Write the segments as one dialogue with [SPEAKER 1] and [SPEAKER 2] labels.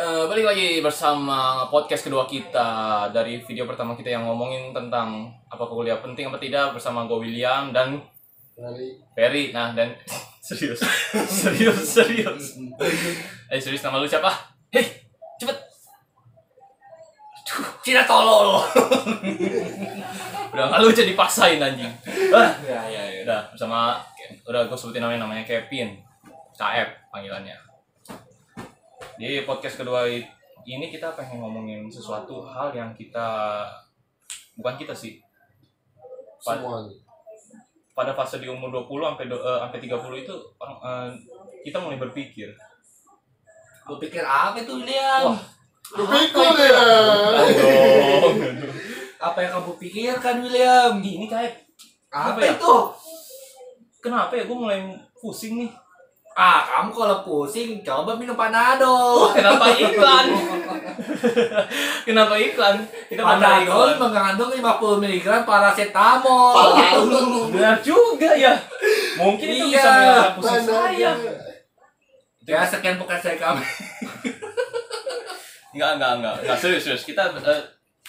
[SPEAKER 1] Eh, balik lagi bersama podcast kedua kita dari video pertama kita yang ngomongin tentang apa kuliah penting apa tidak bersama gue William dan
[SPEAKER 2] dari
[SPEAKER 1] Ferry. Nah dan serius, serius, serius. Eh serius nama lu siapa? Hei, cepet. Aduh, Cina tolol. udah nggak lucu dipaksain anjing. Ah,
[SPEAKER 2] ya ya ya
[SPEAKER 1] udah bersama udah gue sebutin namanya namanya Kevin. Caep panggilannya. Di podcast kedua i- ini kita pengen ngomongin sesuatu hal yang kita bukan kita sih Pan-
[SPEAKER 2] semua nih.
[SPEAKER 1] pada fase di umur 20 sampai do- eh, sampai 30 itu orang eh, kita mulai berpikir
[SPEAKER 3] Lu pikir apa itu William?
[SPEAKER 1] Wah.
[SPEAKER 3] Lu
[SPEAKER 2] pikul
[SPEAKER 3] apa-
[SPEAKER 2] ya
[SPEAKER 3] Apa yang kamu pikirkan William?
[SPEAKER 1] ini kayak Apa
[SPEAKER 3] Apa,
[SPEAKER 1] ya?
[SPEAKER 3] itu?
[SPEAKER 1] kenapa ya gue mulai pusing nih
[SPEAKER 3] Ah, kamu kalau pusing coba minum panadol.
[SPEAKER 1] kenapa iklan kenapa iklan kita pernah
[SPEAKER 3] panadol mengandung 50 mg paracetamol.
[SPEAKER 1] benar juga ya mungkin itu
[SPEAKER 3] Iya,
[SPEAKER 1] bisa menghilangkan pusing saya
[SPEAKER 3] ya sekian bukan saya kami.
[SPEAKER 1] Enggak, enggak, enggak. Enggak serius, serius. Kita eh,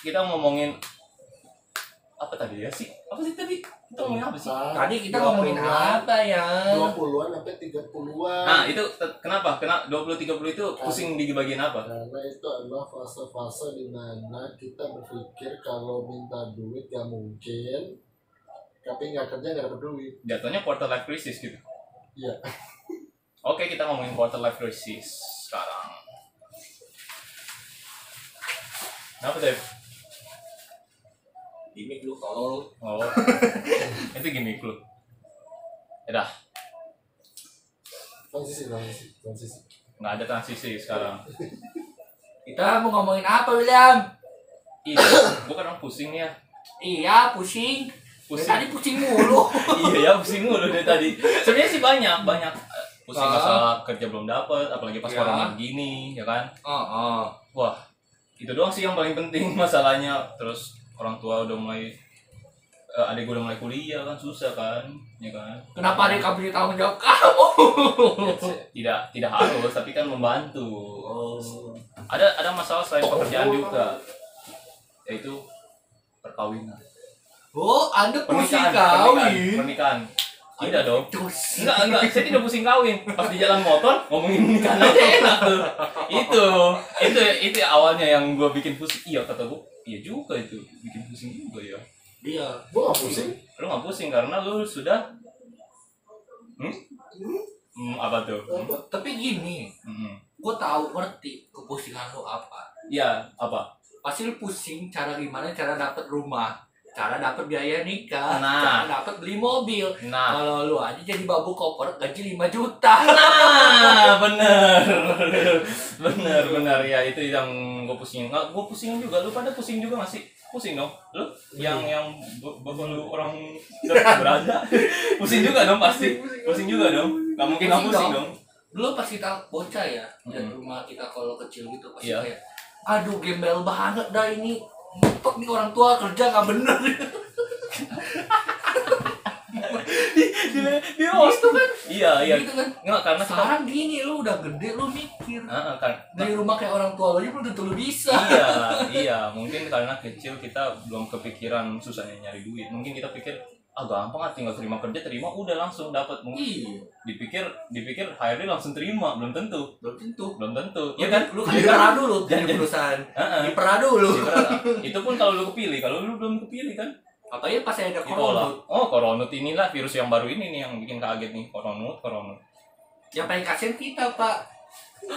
[SPEAKER 1] kita ngomongin apa tadi ya sih? Apa sih tadi? Kita ngomongin apa sih?
[SPEAKER 3] Tadi kita ngomongin apa ya?
[SPEAKER 2] dua puluhan sampai tiga puluhan
[SPEAKER 1] Nah, itu te- kenapa? Kena 20 30 itu pusing di bagian apa?
[SPEAKER 2] karena itu adalah fase-fase di mana kita berpikir kalau minta duit gak mungkin tapi nggak kerja nggak dapat duit
[SPEAKER 1] Jatuhnya quarter life crisis gitu.
[SPEAKER 2] Iya.
[SPEAKER 1] Oke, kita ngomongin quarter life crisis sekarang. Kenapa, Dev?
[SPEAKER 3] Gimik lu tolol.
[SPEAKER 1] Oh. itu gimmick lu. Ya dah,
[SPEAKER 2] transisi transisi transisi
[SPEAKER 1] enggak ada transisi sekarang.
[SPEAKER 3] Kita mau ngomongin apa William?
[SPEAKER 1] Ih, bukan orang Iya, pusing ya.
[SPEAKER 3] Iya, pusing. Dari
[SPEAKER 1] Pusing.
[SPEAKER 3] Tadi pusing mulu.
[SPEAKER 1] iya ya pusing mulu dari tadi sebenarnya sih banyak banyak eh, pusing
[SPEAKER 3] Ah.
[SPEAKER 1] masalah kerja belum dapet apalagi pas
[SPEAKER 3] Iya.
[SPEAKER 1] corona gini ya kan
[SPEAKER 3] Oh, oh.
[SPEAKER 1] wah itu doang sih yang paling penting masalahnya terus orang tua udah mulai eh, adik gue udah mulai kuliah kan susah kan ya kan
[SPEAKER 3] Kenapa ada kamu yang tanggung jawab kamu?
[SPEAKER 1] tidak tidak harus tapi kan membantu ada ada masalah selain pekerjaan juga yaitu perkawinan
[SPEAKER 3] Oh, Anda pusing
[SPEAKER 1] pernikahan pernikahan,
[SPEAKER 3] kawin.
[SPEAKER 1] pernikahan. tidak dong
[SPEAKER 3] Terus.
[SPEAKER 1] Enggak, enggak, saya tidak pusing kawin. Pas di jalan motor ngomongin nikahan aja enak tuh. Itu, itu itu awalnya yang gua bikin pusing. Iya kata gua, iya juga itu bikin pusing juga ya.
[SPEAKER 3] Iya.
[SPEAKER 2] gue nggak pusing
[SPEAKER 1] Lu nggak pusing karena lu sudah Hmm? Hmm, apa tuh? Hmm,
[SPEAKER 3] Tapi gini,
[SPEAKER 1] Hmm.
[SPEAKER 3] gue tahu ngerti kepusingan lo apa.
[SPEAKER 1] Iya, apa?
[SPEAKER 3] Pasti lo pusing cara gimana cara dapet rumah, cara dapet biaya nikah,
[SPEAKER 1] Nah.
[SPEAKER 3] cara dapet beli mobil.
[SPEAKER 1] Nah,
[SPEAKER 3] Kalau lu aja jadi babu koper gaji 5 juta.
[SPEAKER 1] nah, bener, bener, bener ya itu yang gue pusingin. Nggak, gue pusingin juga. Lu pada pusing juga masih pusing dong. Lu yang yang be- bapak lu orang berada, pusing juga dong pasti. Pusing juga dong. Gak mungkin gak
[SPEAKER 3] Pusing
[SPEAKER 1] pusing
[SPEAKER 3] dong.
[SPEAKER 1] dong.
[SPEAKER 3] Dulu pas kita bocah ya, dan
[SPEAKER 1] Mm.
[SPEAKER 3] rumah kita kalau kecil gitu pasti
[SPEAKER 1] Iya.
[SPEAKER 3] kayak, aduh gembel banget dah ini. Mumpet nih orang tua kerja nggak bener.
[SPEAKER 1] Dia dia host tuh kan? Iya iya.
[SPEAKER 3] Gitu kan.
[SPEAKER 1] Nggak karena kita.
[SPEAKER 3] Sekarang gini lu udah gede lu mikir.
[SPEAKER 1] Heeh, kan.
[SPEAKER 3] Dari rumah kayak orang tua lu aja belum tentu lu bisa.
[SPEAKER 1] iya iya mungkin karena kecil kita belum kepikiran susahnya nyari duit mungkin kita pikir ah gampang ah tinggal terima kerja terima udah langsung dapat mungkin
[SPEAKER 3] Iya,
[SPEAKER 1] dipikir dipikir HRD langsung terima belum tentu
[SPEAKER 3] belum tentu.
[SPEAKER 1] belum tentu ya
[SPEAKER 3] Iya kan?
[SPEAKER 1] kan
[SPEAKER 3] Lu kan dipera dulu
[SPEAKER 1] Jangan-
[SPEAKER 3] jadi perusahaan.
[SPEAKER 1] Heeh.
[SPEAKER 3] Dipera dulu.
[SPEAKER 1] Ibarat- itu pun kalau lu kepilih kalau lu belum kepilih kan
[SPEAKER 3] Apalagi pas ada
[SPEAKER 1] ditolak
[SPEAKER 3] corona.
[SPEAKER 1] oh koronut inilah virus yang baru ini nih yang bikin kaget nih koronut koronut
[SPEAKER 3] Yang paling kasihan kita, Pak.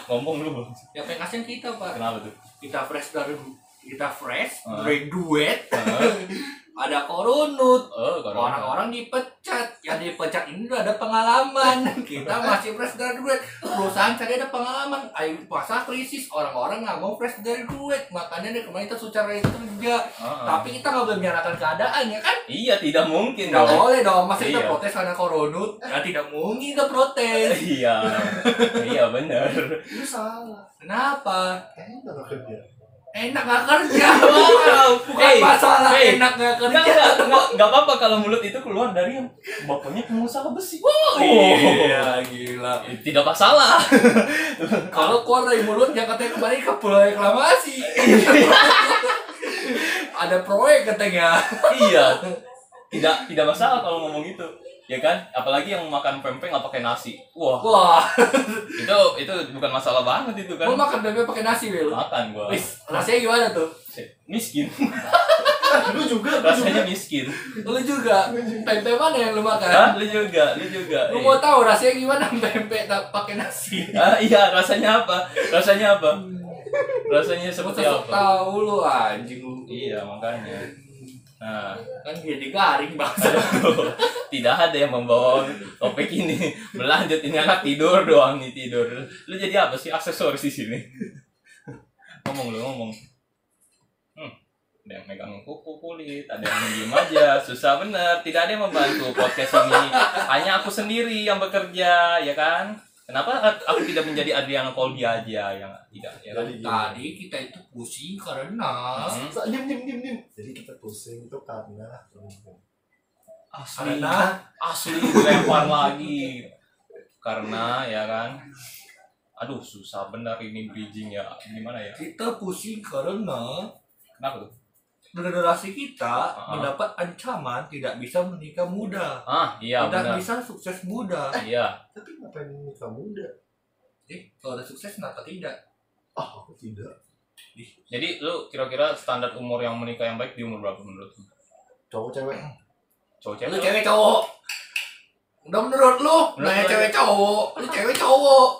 [SPEAKER 1] ngomong lu Bang.
[SPEAKER 3] Yang paling kasihan kita, Pak.
[SPEAKER 1] kenapa tuh
[SPEAKER 3] Kita fresh dari kita fresh,
[SPEAKER 1] Ah.
[SPEAKER 3] graduate,
[SPEAKER 1] Heeh.
[SPEAKER 3] ada koronut.
[SPEAKER 1] oh koronut
[SPEAKER 3] Orang-orang dipecat. Yang dipecat ini udah ada pengalaman. Kita masih fresh graduate. Perusahaan cari ada pengalaman. Ayo masa krisis, orang-orang nggak mau fresh graduate. Makanya dari kemarin kita secara kerja.
[SPEAKER 1] Heeh.
[SPEAKER 3] Tapi kita nggak boleh menyalahkan keadaan ya kan?
[SPEAKER 1] iya tidak mungkin
[SPEAKER 3] Nggak
[SPEAKER 1] dong
[SPEAKER 3] boleh dong, masa kita
[SPEAKER 1] Iya.
[SPEAKER 3] protes karena koronut? Ya tidak mungkin kita protes.
[SPEAKER 1] iya iya benar
[SPEAKER 2] ini salah
[SPEAKER 3] Kenapa?
[SPEAKER 2] kayaknya nggak kerja
[SPEAKER 3] enak gak kerja bukan
[SPEAKER 1] Hey,
[SPEAKER 3] masalah
[SPEAKER 1] hey.
[SPEAKER 3] enak gak kerja
[SPEAKER 1] Enggak, enggak, enggak, enggak apa-apa kalau mulut itu keluar dari yang bapaknya pengusaha besi. Wow.
[SPEAKER 3] iya. gila
[SPEAKER 1] Tidak masalah.
[SPEAKER 3] kalau keluar dari mulut yang katanya kembali ke pulau reklamasi ada proyek katanya
[SPEAKER 1] iya. Tidak tidak masalah kalau ngomong itu. Ya kan? Apalagi yang makan pempek nggak pakai nasi. Wah,
[SPEAKER 3] wah
[SPEAKER 1] itu itu bukan masalah banget itu kan.
[SPEAKER 3] mau makan bebek pakai nasi Wil
[SPEAKER 1] Makan gua.
[SPEAKER 3] Wis, rasanya gimana tuh?
[SPEAKER 1] Miskin.
[SPEAKER 2] Lu juga, lu juga.
[SPEAKER 1] Rasanya miskin.
[SPEAKER 3] Lu juga, pempek mana yang lu makan?
[SPEAKER 1] Hah? Lu juga, lu juga.
[SPEAKER 3] Lu
[SPEAKER 1] Eh.
[SPEAKER 3] mau tahu rasanya gimana pempek tak pakai nasi?
[SPEAKER 1] Ah, iya, rasanya apa? Rasanya apa? Rasanya
[SPEAKER 3] Lu
[SPEAKER 1] seperti
[SPEAKER 3] sosok
[SPEAKER 1] apa?
[SPEAKER 3] tahu lu anjing lu.
[SPEAKER 1] Iya, makanya. Nah,
[SPEAKER 3] Kan jadi garing bangsa.
[SPEAKER 1] Aduh, tidak ada yang membawa topik ini berlanjut ini anak tidur doang nih tidur lu jadi apa sih aksesoris di sini ngomong lu ngomong hmm. ada yang megang kuku kulit ada yang diem aja susah bener tidak ada yang membantu podcast ini hanya aku sendiri yang bekerja ya kan kenapa a- aku tidak menjadi Adriana Colby aja yang tidak ya kan?
[SPEAKER 2] Jadi gini.
[SPEAKER 3] Tadi kita itu pusing karena
[SPEAKER 1] Hmm.
[SPEAKER 2] Sa- Diam, diam, diam, diam. Jadi kita pusing itu karena
[SPEAKER 1] asli
[SPEAKER 3] karena
[SPEAKER 1] asli dilempar lagi karena ya kan aduh susah benar ini bridging ya gimana ya
[SPEAKER 3] kita pusing karena
[SPEAKER 1] kenapa tuh
[SPEAKER 3] generasi kita
[SPEAKER 1] Ah.
[SPEAKER 3] mendapat ancaman tidak bisa menikah muda,
[SPEAKER 1] ah iya benar
[SPEAKER 3] tidak bisa sukses muda.
[SPEAKER 1] iya
[SPEAKER 2] Tapi ngapain nikah muda?
[SPEAKER 3] Eh, kalau ada sukses kenapa tidak?
[SPEAKER 2] Ah, aku tidak.
[SPEAKER 1] jadi lu kira-kira standar umur yang menikah yang baik di umur berapa menurut lu?
[SPEAKER 2] Cowok cewek.
[SPEAKER 1] cowok
[SPEAKER 3] Ya, Lu
[SPEAKER 1] cewek
[SPEAKER 3] cewek cowok. Udah menurut lu,
[SPEAKER 1] Menurut
[SPEAKER 3] nanya
[SPEAKER 1] lu-
[SPEAKER 3] cewek cowok, lu cewek cowok.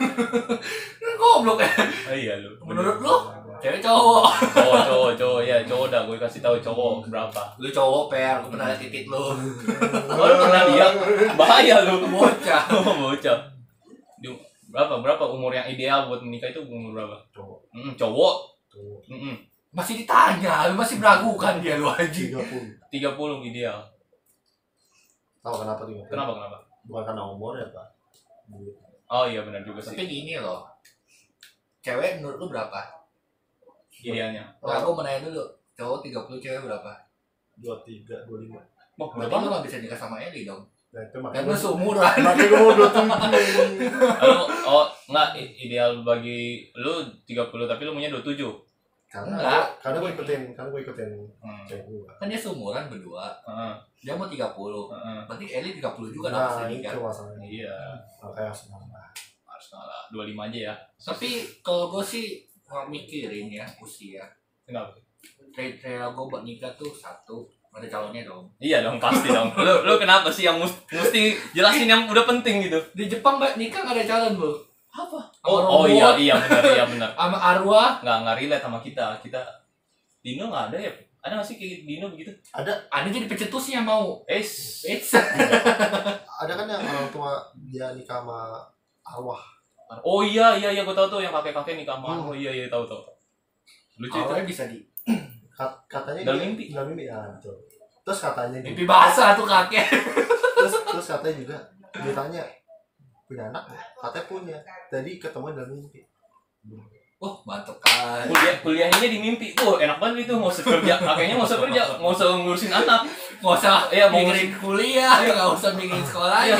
[SPEAKER 3] Kan goblok ya.
[SPEAKER 1] Ah, iya lu
[SPEAKER 3] Menurut lu, cewek cowok.
[SPEAKER 1] cowok cowok cowok ya cowok dah gue kasih tahu cowok berapa
[SPEAKER 3] Lu cowok per, lu pernah liat titik lu.
[SPEAKER 1] Oh, lu pernah lihat? bahaya lu
[SPEAKER 3] Bocah.
[SPEAKER 1] bocah di, berapa berapa umur yang ideal buat menikah itu umur berapa
[SPEAKER 2] Cowok.
[SPEAKER 1] Mm, cowok
[SPEAKER 2] Cowok.
[SPEAKER 1] Mm-mm.
[SPEAKER 3] Masih ditanya, lu masih meragukan dia lu anjing.
[SPEAKER 2] 30.
[SPEAKER 1] 30 ideal
[SPEAKER 2] Tahu kenapa 30?
[SPEAKER 1] kenapa kenapa
[SPEAKER 2] Bukan karena umur ya, Pak. Duit.
[SPEAKER 1] Oh iya benar juga sih
[SPEAKER 3] Tapi gini loh. Cewek menurut lu berapa?
[SPEAKER 1] idealnya.
[SPEAKER 3] Nah, aku mau nanya dulu. Cowok 30, cewek berapa?
[SPEAKER 2] 23, 25.
[SPEAKER 1] Wah,
[SPEAKER 3] Berarti lu gak bisa nikah sama Eli dong.
[SPEAKER 2] Nah, itu
[SPEAKER 3] Kan
[SPEAKER 2] makanya.
[SPEAKER 3] lu seumuran.
[SPEAKER 2] Makanya gue mau 27.
[SPEAKER 1] Lu oh enggak i- ideal bagi lu 30 tapi lu punya 27.
[SPEAKER 2] Karena
[SPEAKER 3] Enggak.
[SPEAKER 2] karena gue ikutin, karena gue ikutin
[SPEAKER 1] Hmm.
[SPEAKER 2] cewek gue.
[SPEAKER 3] Kan dia seumuran berdua.
[SPEAKER 1] Heeh,
[SPEAKER 3] Dia mau 30.
[SPEAKER 1] heeh.
[SPEAKER 3] Berarti Eli 30
[SPEAKER 1] kan
[SPEAKER 3] juga nah,
[SPEAKER 2] Nah,
[SPEAKER 3] harus nikah.
[SPEAKER 2] itu masalahnya.
[SPEAKER 1] Iya,
[SPEAKER 2] Makanya harus nambah.
[SPEAKER 1] harus ngalah 25 aja ya.
[SPEAKER 3] Tapi kalau gue sih nggak mikirin ya usia.
[SPEAKER 1] Kenapa?
[SPEAKER 3] Kriteria gue buat nikah tuh satu ada calonnya dong.
[SPEAKER 1] Iya dong, pasti dong. Lu lu kenapa sih yang mus- mesti jelasin yang udah penting gitu?
[SPEAKER 3] Di Jepang mbak nikah nggak ada calon bu. Apa?
[SPEAKER 1] Oh, oh iya iya benar iya benar.
[SPEAKER 3] Sama arwah
[SPEAKER 1] Enggak enggak relate sama kita. Kita Dino enggak ada ya? Ada nggak sih kayak Dino begitu?
[SPEAKER 3] ada jadi pecetusnya mau.
[SPEAKER 1] Eh,
[SPEAKER 3] It's
[SPEAKER 2] Ada kan yang orang tua dia nikah sama arwah.
[SPEAKER 1] oh iya iya iya gua tahu tuh yang kakek-kakek nikah sama. Oh
[SPEAKER 2] Hmm.
[SPEAKER 1] iya iya tahu tahu. tahu. Lucu itu.
[SPEAKER 3] arwahnya bisa di
[SPEAKER 2] Kat- katanya
[SPEAKER 1] Dalam
[SPEAKER 2] dia-
[SPEAKER 1] mimpi.
[SPEAKER 2] dalam mimpi ya betul terus katanya gitu
[SPEAKER 3] mimpi basah tuh kakek.
[SPEAKER 2] terus terus katanya juga dia tanya punya anak nggak?" katanya punya tadi ketemu dalam mimpi
[SPEAKER 3] Wah mantep kan.
[SPEAKER 1] kuliah kuliahnya di mimpi wah enak banget itu mau usah kerja akhirnya mau usah kerja mau usah ngurusin anak
[SPEAKER 3] Nggak usah
[SPEAKER 1] Iya, mau-
[SPEAKER 3] mikirin kuliah, nggak usah mikirin
[SPEAKER 1] Iya.
[SPEAKER 3] sekolahnya.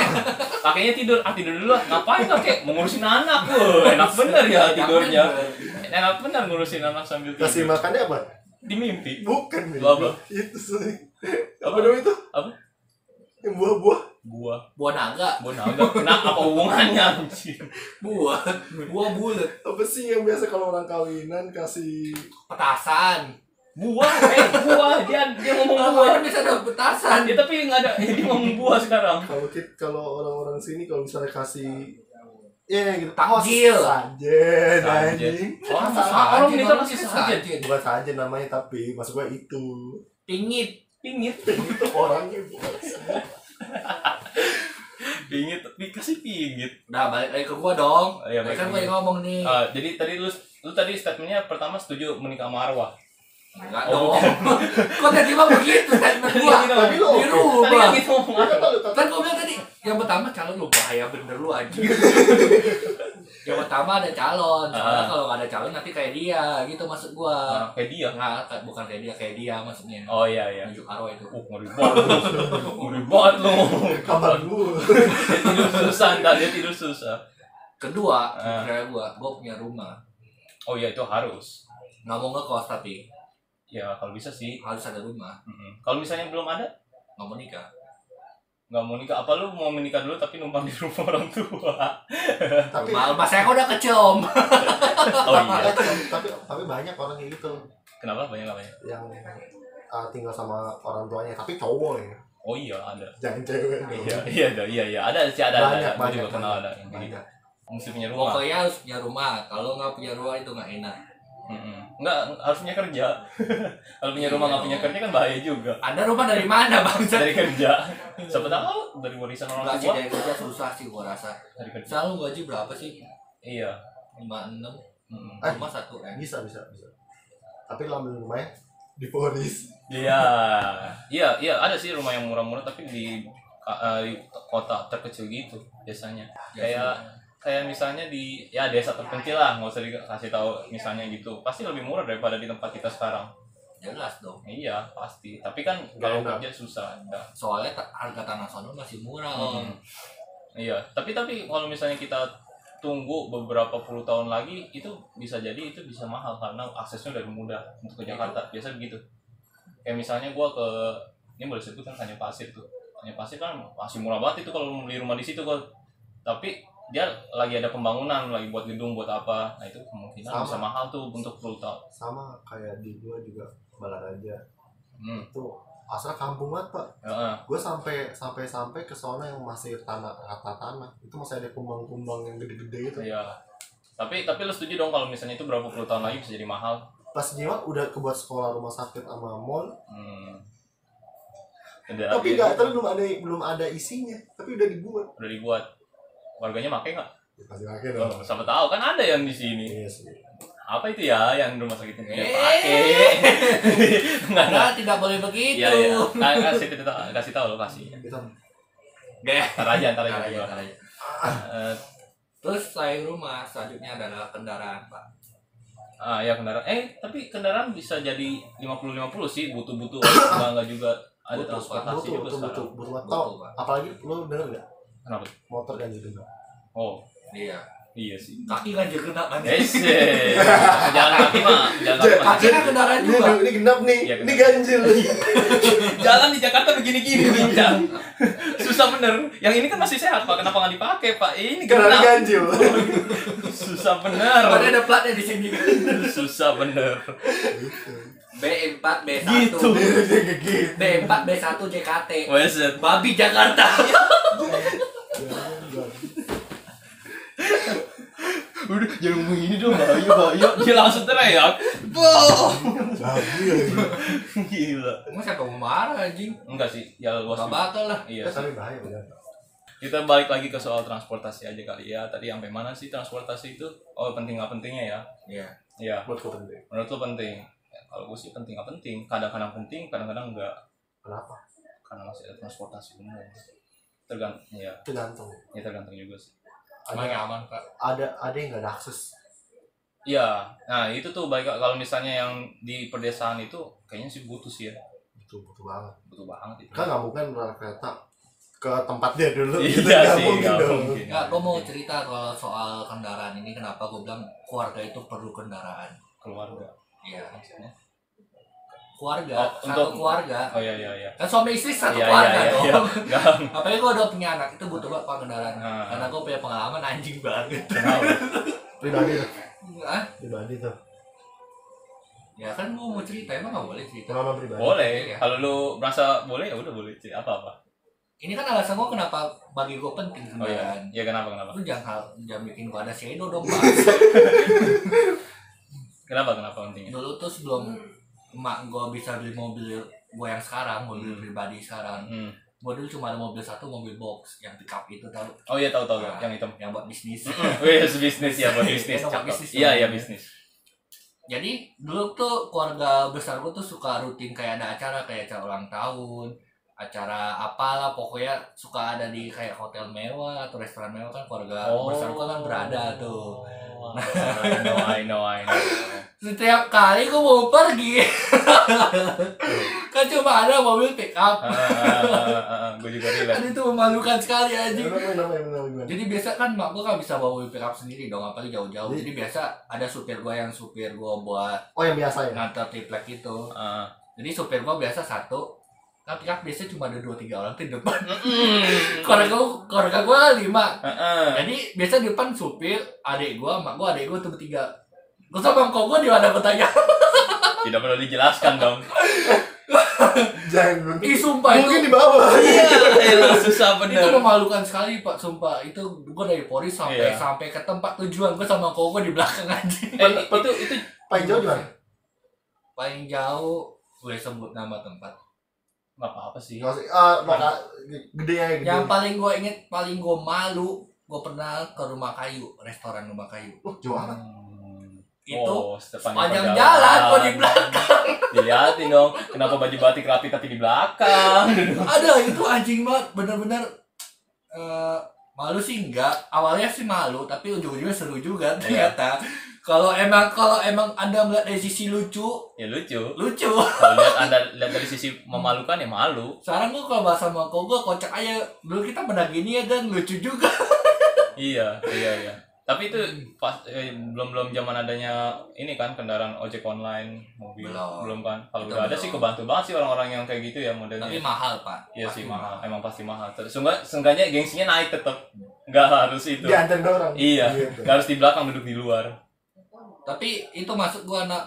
[SPEAKER 1] akhirnya tidur ah tidur dulu lah ngapain kakek mau ngurusin anak wah enak bener ya tidurnya enak bener ngurusin anak sambil
[SPEAKER 2] kasih
[SPEAKER 1] tidur
[SPEAKER 2] makannya apa
[SPEAKER 1] di mimpi
[SPEAKER 2] bukan mimpi.
[SPEAKER 1] Lu apa?
[SPEAKER 2] itu sih
[SPEAKER 1] apa
[SPEAKER 2] apa
[SPEAKER 1] dong
[SPEAKER 2] dong itu
[SPEAKER 1] Apa?
[SPEAKER 2] yang buah-buah
[SPEAKER 1] buah
[SPEAKER 3] Buah naga,
[SPEAKER 1] buah naga kenapa apa hubungannya anjing
[SPEAKER 3] buah, buah bulat,
[SPEAKER 2] apa sih yang biasa kalau orang kawinan kasih
[SPEAKER 3] petasan.
[SPEAKER 1] buah eh buah dia dia ngomong buah
[SPEAKER 3] Orang bisa ada petasan.
[SPEAKER 1] dia tapi nggak ada eh, dia ngomong buah sekarang
[SPEAKER 2] kalau kit kalau orang-orang sini kalau misalnya kasih ya gitu
[SPEAKER 3] Takjil.
[SPEAKER 2] sajen
[SPEAKER 1] Sajen.
[SPEAKER 2] anjing Eh,
[SPEAKER 1] orang
[SPEAKER 3] Masa
[SPEAKER 1] orang
[SPEAKER 3] aja,
[SPEAKER 1] nikah
[SPEAKER 3] orang
[SPEAKER 1] masih
[SPEAKER 3] nikah
[SPEAKER 1] saja
[SPEAKER 3] saja.
[SPEAKER 2] bukan sajen namanya tapi maksud gue itu
[SPEAKER 3] Pingit.
[SPEAKER 1] pingit
[SPEAKER 2] itu orangnya bukan
[SPEAKER 1] pingit dikasih pingit
[SPEAKER 3] Udah balik lagi ke gua dong.
[SPEAKER 1] Oh, iya, balik
[SPEAKER 3] kan
[SPEAKER 1] lagi.
[SPEAKER 3] gua yang ngomong nih.
[SPEAKER 1] Ah, jadi tadi lu lu tadi statementnya pertama setuju menikah sama arwah
[SPEAKER 3] Enggak
[SPEAKER 1] oh,
[SPEAKER 3] dong. Kok tiba-tiba begitu statement gua?
[SPEAKER 1] Tadi kan
[SPEAKER 2] tapi lu
[SPEAKER 3] Di
[SPEAKER 1] tadi
[SPEAKER 3] rumah.
[SPEAKER 1] kan gitu ngomong
[SPEAKER 2] Kan
[SPEAKER 1] arwah
[SPEAKER 2] kalau
[SPEAKER 3] Kan gua bilang tadi, yang pertama calon lu bahaya bener lu anjing. yang pertama ada calon soalnya
[SPEAKER 1] Ah.
[SPEAKER 3] kalau nggak ada calon nanti kayak dia gitu maksud gua
[SPEAKER 1] Nah, kayak dia.
[SPEAKER 3] nggak kayak- bukan kayak dia kayak dia maksudnya
[SPEAKER 1] Oh iya iya.
[SPEAKER 3] Nunjuk arwah itu
[SPEAKER 1] Uh, ngeri banget lu. Ngeri banget lu.
[SPEAKER 2] Kabar dulu.
[SPEAKER 1] Dia tidur susah, ntar dia tidur susah.
[SPEAKER 3] kedua
[SPEAKER 1] Ah.
[SPEAKER 3] kriteria gua gua punya rumah
[SPEAKER 1] Oh iya itu harus.
[SPEAKER 3] nggak mau ngekos tapi
[SPEAKER 1] Ya kalau bisa sih.
[SPEAKER 3] harus ada rumah
[SPEAKER 1] Mm-mm. Kalau misalnya belum ada,
[SPEAKER 3] nggak mau nikah
[SPEAKER 1] nggak mau nikah. Apa lu mau menikah dulu tapi numpang di rumah orang tua?
[SPEAKER 2] Tapi
[SPEAKER 3] rumah rumah saya kok udah kecom
[SPEAKER 1] Oh iya.
[SPEAKER 2] tapi tapi banyak orang kayak gitu
[SPEAKER 1] Kenapa banyak ya? banyak?
[SPEAKER 2] yang uh, tinggal sama orang tuanya tapi cowok ya
[SPEAKER 1] Oh iya ada.
[SPEAKER 2] jangan cewek
[SPEAKER 1] Iya iya ada iya iya ada sih ada ada. ada.
[SPEAKER 2] Banyak,
[SPEAKER 1] Gua
[SPEAKER 2] banyak, Iya.
[SPEAKER 1] juga kenal ada. yang kayak gitu.
[SPEAKER 2] banyak
[SPEAKER 1] Mesti punya rumah.
[SPEAKER 3] pokoknya harus punya rumah kalau nggak punya rumah itu nggak enak
[SPEAKER 1] Mm-mm. Nggak harus punya kerja. kalau punya rumah nggak
[SPEAKER 2] Iya.
[SPEAKER 1] punya kerja kan bahaya juga.
[SPEAKER 3] anda rumah dari mana bang
[SPEAKER 1] Dari kerja. Siapa tahu dari warisan orang
[SPEAKER 3] Enggak sih
[SPEAKER 1] tua.
[SPEAKER 3] dari kerja susah sih gua rasa.
[SPEAKER 1] Dari kerja.
[SPEAKER 3] Misalnya lu gaji berapa sih?
[SPEAKER 1] Iya.
[SPEAKER 3] 56
[SPEAKER 1] Mm-mm.
[SPEAKER 2] Eh.
[SPEAKER 3] rumah
[SPEAKER 1] gitu.
[SPEAKER 3] 1 M.
[SPEAKER 2] bisa bisa bisa tapi lambil rumahnya diponis
[SPEAKER 1] Iya, iya, iya ada sih rumah yang murah-murah tapi di, ka- eh, di kota terkecil gitu biasanya. Kayak kayak misalnya di ya desa terpencil lah nggak usah dikasih tahu misalnya gitu pasti lebih murah daripada di tempat kita sekarang.
[SPEAKER 3] jelas dong.
[SPEAKER 1] Iya pasti. Tapi kan
[SPEAKER 2] Nggak
[SPEAKER 1] kalau
[SPEAKER 2] enak.
[SPEAKER 1] kerja susah. Nggak.
[SPEAKER 3] Soalnya ta- harga tanah sono masih murah
[SPEAKER 1] Mm.
[SPEAKER 3] om.
[SPEAKER 1] Iya. Tapi tapi kalau misalnya kita tunggu beberapa puluh tahun lagi itu bisa jadi itu bisa mahal karena aksesnya dari mudah untuk ke Jakarta biasa begitu kayak misalnya gua ke ini boleh sebut kan Tanjung Pasir tuh Tanjung Pasir kan masih murah banget itu kalau mau beli rumah di situ gua tapi dia lagi ada pembangunan lagi buat gedung buat apa nah itu kemungkinan
[SPEAKER 2] Sama.
[SPEAKER 1] bisa mahal tuh untuk puluh tahun
[SPEAKER 2] sama kayak di gua juga balaraja
[SPEAKER 1] hmm.
[SPEAKER 2] tuh asal kampung banget pak
[SPEAKER 1] heeh.
[SPEAKER 2] gua sampai sampai sampai ke sana yang masih tanah rata tanah itu masih ada kumbang-kumbang yang gede-gede gitu
[SPEAKER 1] Iya. tapi tapi lu setuju dong kalau misalnya itu berapa puluh tahun lagi bisa jadi mahal
[SPEAKER 2] pas nyewa udah kebuat sekolah rumah sakit sama mall
[SPEAKER 1] Hmm. Udah,
[SPEAKER 2] tapi
[SPEAKER 1] dia-
[SPEAKER 2] nggak tapi belum ada belum ada isinya tapi udah dibuat
[SPEAKER 1] udah dibuat. Warganya pakai nggak?
[SPEAKER 2] ya, pasti pakai
[SPEAKER 1] Oh, siapa tahu kan ada yang di sini.
[SPEAKER 2] Iya sih.
[SPEAKER 1] Apa itu ya yang rumah sakit ini
[SPEAKER 3] Eh.
[SPEAKER 1] pakai? Nggak nggak.
[SPEAKER 3] Anda tidak boleh begitu.
[SPEAKER 1] Iya iya. Nah, kasih kasih tahu kasih tahu lo kasih.
[SPEAKER 2] Kita
[SPEAKER 3] Deh.
[SPEAKER 1] Ntar aja ntar aja.
[SPEAKER 2] Ah,
[SPEAKER 3] Ntar
[SPEAKER 2] iya.
[SPEAKER 3] aja,
[SPEAKER 1] gua.
[SPEAKER 3] ntar aja.
[SPEAKER 1] Eh,
[SPEAKER 3] Terus selain rumah, selanjutnya adalah kendaraan, Pak.
[SPEAKER 1] ah ya kendaraan. Eh tapi kendaraan bisa jadi 50-50 sih butuh-butuh. Nggak nggak juga ada
[SPEAKER 3] Butuh,
[SPEAKER 1] transportasi
[SPEAKER 2] butuh
[SPEAKER 1] juga
[SPEAKER 2] butuh butuh
[SPEAKER 1] sekarang.
[SPEAKER 2] butuh tau
[SPEAKER 3] Betul, Pak.
[SPEAKER 2] apalagi lu denger nggak
[SPEAKER 1] Kenapa?
[SPEAKER 2] motor ganjil genap
[SPEAKER 1] Oh
[SPEAKER 3] Iya.
[SPEAKER 1] iya sih.
[SPEAKER 3] Kaki kan juga kena kan.
[SPEAKER 1] Eh sih. Jangan kaki mah. Jangan kaki mah.
[SPEAKER 3] Kaki kan kendaraan
[SPEAKER 2] ini
[SPEAKER 3] juga.
[SPEAKER 2] ini genap nih
[SPEAKER 1] Iya,
[SPEAKER 2] ini ganjil
[SPEAKER 1] jalan di Jakarta begini-gini nih, Jang. Susah bener. Yang ini kan masih sehat, Pak. Kenapa nggak dipakai, Pak? Ini
[SPEAKER 2] kenapa
[SPEAKER 1] kenapa?
[SPEAKER 2] ganjil
[SPEAKER 1] Susah
[SPEAKER 3] Padahal
[SPEAKER 1] bener.
[SPEAKER 3] ada platnya di sini.
[SPEAKER 1] Susah bener.
[SPEAKER 3] B4, B1.
[SPEAKER 1] Gitu.
[SPEAKER 2] Dia kayak gitu
[SPEAKER 3] B4, B1, JKT.
[SPEAKER 1] Weset.
[SPEAKER 3] Babi Jakarta.
[SPEAKER 1] Iya, kan,
[SPEAKER 2] Ganjil.
[SPEAKER 1] Udah, jangan ngomong ini dong, bahaya, bahaya. Dia langsung teriak. Boom.
[SPEAKER 2] Babi lagi.
[SPEAKER 1] Gila.
[SPEAKER 3] Emang siapa mau marah anjing?
[SPEAKER 1] Enggak sih, ya luas.
[SPEAKER 3] Gak
[SPEAKER 1] juga.
[SPEAKER 3] bakal lah.
[SPEAKER 1] Iya.
[SPEAKER 2] Ya, tapi bahaya bener.
[SPEAKER 1] Kita balik lagi ke soal transportasi aja kali ya. Tadi sampai mana sih transportasi itu? Oh, penting nggak pentingnya ya?
[SPEAKER 3] Iya.
[SPEAKER 1] Iya.
[SPEAKER 2] Buat kau penting.
[SPEAKER 1] Menurut lo penting? Ya, Kalau gue sih penting nggak penting. Kadang-kadang penting, kadang-kadang enggak.
[SPEAKER 2] Kenapa?
[SPEAKER 1] karena masih ada transportasi umum tergantung ya,
[SPEAKER 2] Tergantung.
[SPEAKER 1] ya tergantung juga sih
[SPEAKER 3] Emang
[SPEAKER 2] Ada
[SPEAKER 3] nyaman, Pak.
[SPEAKER 2] ada ada yang nggak ada akses.
[SPEAKER 1] ya nah itu tuh baik kalau misalnya yang di perdesaan itu kayaknya sih butuh sih ya
[SPEAKER 2] Betul betul Gitu, banget.
[SPEAKER 1] butuh banget itu
[SPEAKER 2] Kan nggak mungkin naik kereta ke tempat dia dulu. gitu.
[SPEAKER 1] iya sih nggak
[SPEAKER 2] dong.
[SPEAKER 1] mungkin Iya,
[SPEAKER 3] Enggak, gue mau cerita kalau soal kendaraan ini kenapa gue bilang keluarga itu perlu kendaraan.
[SPEAKER 1] keluarga
[SPEAKER 3] Iya.
[SPEAKER 1] maksudnya Oh,
[SPEAKER 3] Keluarga, satu
[SPEAKER 1] untuk-
[SPEAKER 3] keluarga.
[SPEAKER 1] oh iya iya iya
[SPEAKER 3] Kan suami istri satu
[SPEAKER 1] iya iya
[SPEAKER 3] keluarga
[SPEAKER 1] iya
[SPEAKER 3] dong.
[SPEAKER 1] iya nggak
[SPEAKER 3] Apalagi gue udah punya anak, itu butuh banget Pak, kendaraan.
[SPEAKER 1] Ah.
[SPEAKER 3] Karena gue punya pengalaman anjing banget.
[SPEAKER 1] kenal
[SPEAKER 2] Pribadi tuh.
[SPEAKER 3] Hah?
[SPEAKER 2] Pribadi tuh.
[SPEAKER 3] Ya kan gue mau cerita, emang gak boleh cerita.
[SPEAKER 2] Pengalaman pribadi.
[SPEAKER 1] boleh
[SPEAKER 3] Iya.
[SPEAKER 1] kalau lu merasa boleh ya udah boleh sih apa apa
[SPEAKER 3] Ini kan alasan gue kenapa bagi gue penting
[SPEAKER 1] oh iya
[SPEAKER 3] kendaraan.
[SPEAKER 1] ya kenapa kenapa
[SPEAKER 3] Lu jangan, jangan bikin gue ada shadow dong, Pak.
[SPEAKER 1] kenapa kenapa pentingnya
[SPEAKER 3] Dulu tuh sebelum emak gue bisa beli mobil gue yang sekarang, mobil
[SPEAKER 1] Hmm.
[SPEAKER 3] pribadi sekarang.
[SPEAKER 1] hmm.
[SPEAKER 3] gue dulu cuma ada mobil satu mobil box yang pickup itu tau
[SPEAKER 1] oh iya tahu tahu
[SPEAKER 3] Nah.
[SPEAKER 1] tahu. yang hitam
[SPEAKER 3] yang buat bisnis
[SPEAKER 1] Wih, bisnis ya, buat bisnis.
[SPEAKER 3] Iya,
[SPEAKER 1] cakep.
[SPEAKER 3] bisnis.
[SPEAKER 1] Iya, iya bisnis.
[SPEAKER 3] jadi dulu tuh keluarga besar gue tuh suka rutin kayak ada acara kayak acara ulang tahun acara apalah pokoknya suka ada di kayak hotel mewah atau restoran mewah kan keluarga
[SPEAKER 1] Oh.
[SPEAKER 3] besarku kan berada tuh
[SPEAKER 1] Nah, I know, I know, I know.
[SPEAKER 3] setiap kali gue mau pergi kan cuma ada mobil pick
[SPEAKER 1] Ah,
[SPEAKER 3] up
[SPEAKER 1] Gue ah. juga relate.
[SPEAKER 3] kan itu memalukan sekali
[SPEAKER 1] iya.
[SPEAKER 3] anjing
[SPEAKER 2] Gimana, gimana, gimana, gimana?
[SPEAKER 3] Jadi biasa kan mak gue gak bisa bawa mobil pickup sendiri dong, apalagi jauh-jauh. Jadi biasa ada supir gue yang supir gue buat
[SPEAKER 2] Oh yang biasa ya?
[SPEAKER 3] ngantar triplek itu.
[SPEAKER 1] Ah.
[SPEAKER 3] Jadi supir gue biasa satu, kan pickup biasanya cuma ada dua tiga orang tuh di depan.
[SPEAKER 1] Mm-mm.
[SPEAKER 3] Keluarga gue, keluarga gue lima.
[SPEAKER 1] Heeh.
[SPEAKER 3] Jadi biasa di depan supir, adik gue, mak gue, adik gue tuh bertiga. Gue sama kok gue di mana gue tanya.
[SPEAKER 1] eh, Tidak perlu dijelaskan dong.
[SPEAKER 2] Jangan.
[SPEAKER 3] Ih sumpah
[SPEAKER 2] Mungkin
[SPEAKER 3] itu,
[SPEAKER 2] di bawah.
[SPEAKER 1] Iya, susah
[SPEAKER 3] itu
[SPEAKER 1] bener.
[SPEAKER 3] memalukan sekali pak sumpah. Itu gue dari Polri sampai
[SPEAKER 1] Iya.
[SPEAKER 3] sampai ke tempat tujuan gue sama kok gue di belakang aja.
[SPEAKER 1] Eh, itu itu
[SPEAKER 2] Paling jauh di mana?
[SPEAKER 3] paling jauh boleh sebut nama tempat
[SPEAKER 1] nggak apa-apa sih.
[SPEAKER 2] Nggak usah- ah, maka gede ya gede.
[SPEAKER 3] yang paling gue inget paling gue malu gue pernah ke rumah kayu restoran rumah kayu
[SPEAKER 2] Wah, jauh amat.
[SPEAKER 1] Hmm.
[SPEAKER 3] itu
[SPEAKER 1] Oh,
[SPEAKER 3] sepanjang
[SPEAKER 1] perjalanan.
[SPEAKER 3] jalan kok di belakang
[SPEAKER 1] Dilihatin dong, kenapa baju batik rapi tapi di belakang.
[SPEAKER 3] ada itu anjing banget bener-bener eh, malu sih enggak awalnya sih malu tapi ujung-ujungnya seru juga
[SPEAKER 1] Iya.
[SPEAKER 3] ternyata kalau emang kalau emang anda melihat dari sisi lucu
[SPEAKER 1] Ya lucu.
[SPEAKER 3] lucu
[SPEAKER 1] Kalau lihat Anda lihat dari sisi memalukan ya malu.
[SPEAKER 3] sekarang gue kalau bahasa sama kau gue kocak aja dulu kita pernah gini ya dan lucu juga
[SPEAKER 1] Iya, iya, iya. Tapi itu pas eh, belum belum zaman adanya ini kan kendaraan ojek online mobil
[SPEAKER 3] Belum.
[SPEAKER 1] kan kalau
[SPEAKER 3] Itu
[SPEAKER 1] udah ada
[SPEAKER 3] belum.
[SPEAKER 1] sih kebantu banget sih orang-orang yang kayak gitu ya modelnya
[SPEAKER 3] tapi mahal pak
[SPEAKER 1] Iya sih
[SPEAKER 3] Pasti
[SPEAKER 1] mahal, emang pasti mahal. Terus seenggak- seenggaknya gengsinya naik tetap. Nggak harus itu.
[SPEAKER 2] Diantar orang.
[SPEAKER 1] Gitu. Iya.
[SPEAKER 2] Gitu.
[SPEAKER 1] Nggak harus di belakang duduk di luar.
[SPEAKER 3] tapi itu masuk gua anak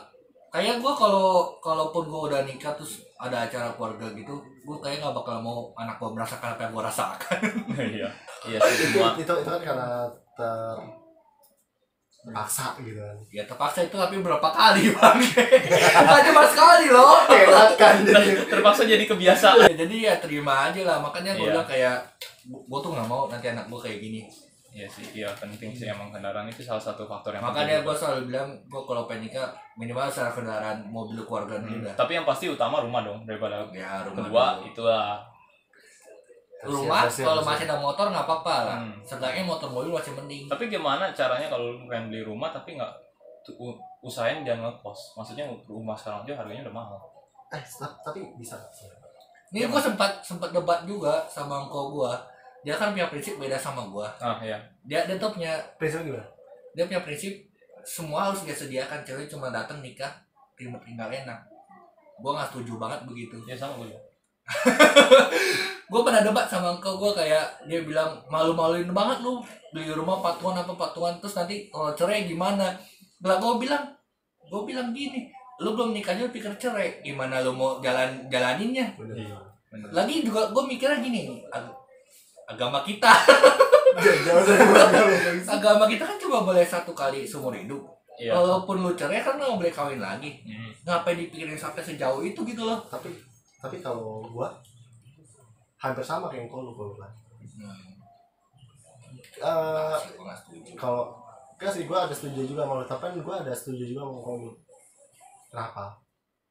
[SPEAKER 3] kayak gua kalau kalaupun gua udah nikah terus ada acara keluarga gitu gua kayak nggak bakal mau anak gua merasakan apa yang gua rasakan
[SPEAKER 1] Iya. Iya sih
[SPEAKER 2] Itu,
[SPEAKER 1] cuma
[SPEAKER 2] itu itu kan karena ter terpaksa gitu kan.
[SPEAKER 3] ya terpaksa itu tapi berapa kali bang bukan cuma sekali loh
[SPEAKER 2] Enak kan jadi.
[SPEAKER 1] ter- terpaksa jadi kebiasaan.
[SPEAKER 3] Ya, jadi ya terima aja lah makanya gua
[SPEAKER 1] Iya.
[SPEAKER 3] bilang kayak gua gua tuh nggak mau nanti anak gua kayak gini
[SPEAKER 1] Iya sih, iya penting sih emang kendaraan itu salah satu faktor yang
[SPEAKER 3] makanya
[SPEAKER 1] penting.
[SPEAKER 3] gua selalu bilang gua kalau pengen nikah minimal secara kendaraan mobil keluarga
[SPEAKER 1] Hmm,
[SPEAKER 3] dulu dah
[SPEAKER 1] Tapi yang pasti utama rumah dong daripada
[SPEAKER 3] ya rumah
[SPEAKER 1] kedua iya.
[SPEAKER 3] dulu.
[SPEAKER 1] itulah
[SPEAKER 3] rumah
[SPEAKER 2] Kasihan, kasihan,
[SPEAKER 3] kalau
[SPEAKER 2] kasihan.
[SPEAKER 3] masih ada motor nggak apa-apa lah
[SPEAKER 1] Hmm. Iya.
[SPEAKER 3] Seenggaknya motor mobil masih mending
[SPEAKER 1] tapi gimana caranya kalau lu pengen beli rumah tapi nggak tu- u- usahain jangan ngekos maksudnya rumah sekarang aja harganya udah mahal
[SPEAKER 2] Eh, ta- tapi bisa.
[SPEAKER 3] Ini gue sempat sempat debat juga sama engkau gue. Dia kan punya prinsip beda sama gue.
[SPEAKER 1] ah iya
[SPEAKER 3] Dia dia tuh punya
[SPEAKER 2] Prinsipnya gimana?
[SPEAKER 3] dia punya prinsip semua harus dia sediakan cewek cuma datang nikah terima tinggal enak. Gue nggak setuju banget begitu.
[SPEAKER 1] ya sama gue
[SPEAKER 3] Gue pernah debat sama engkau gue kayak dia bilang malu-maluin banget lu beli rumah patungan apa patungan terus nanti kalau cerai gimana? Lah gue bilang gue bilang gini lu belum nikahnya lu pikir cerai gimana lu mau jalan jalaninnya
[SPEAKER 2] Bener.
[SPEAKER 1] Iya.
[SPEAKER 3] lagi juga gue mikirnya gini ag- agama kita
[SPEAKER 2] Jangan- Jangan jangan, jangan, jangan.
[SPEAKER 3] agama kita kan cuma boleh satu kali seumur hidup.
[SPEAKER 1] iya
[SPEAKER 3] Walaupun lu cerai kan lu nggak boleh kawin lagi.
[SPEAKER 1] Hmm.
[SPEAKER 3] Ngapain dipikirin sampai sejauh itu gitu loh?
[SPEAKER 2] Tapi tapi kalau gua hampir sama kayak kalau lu kalau gua. Eh,
[SPEAKER 3] Masih gua nggak setuju.
[SPEAKER 2] kalau enggak sih gue ada setuju juga sama lu tapi kan gue ada setuju juga sama kalau lu kenapa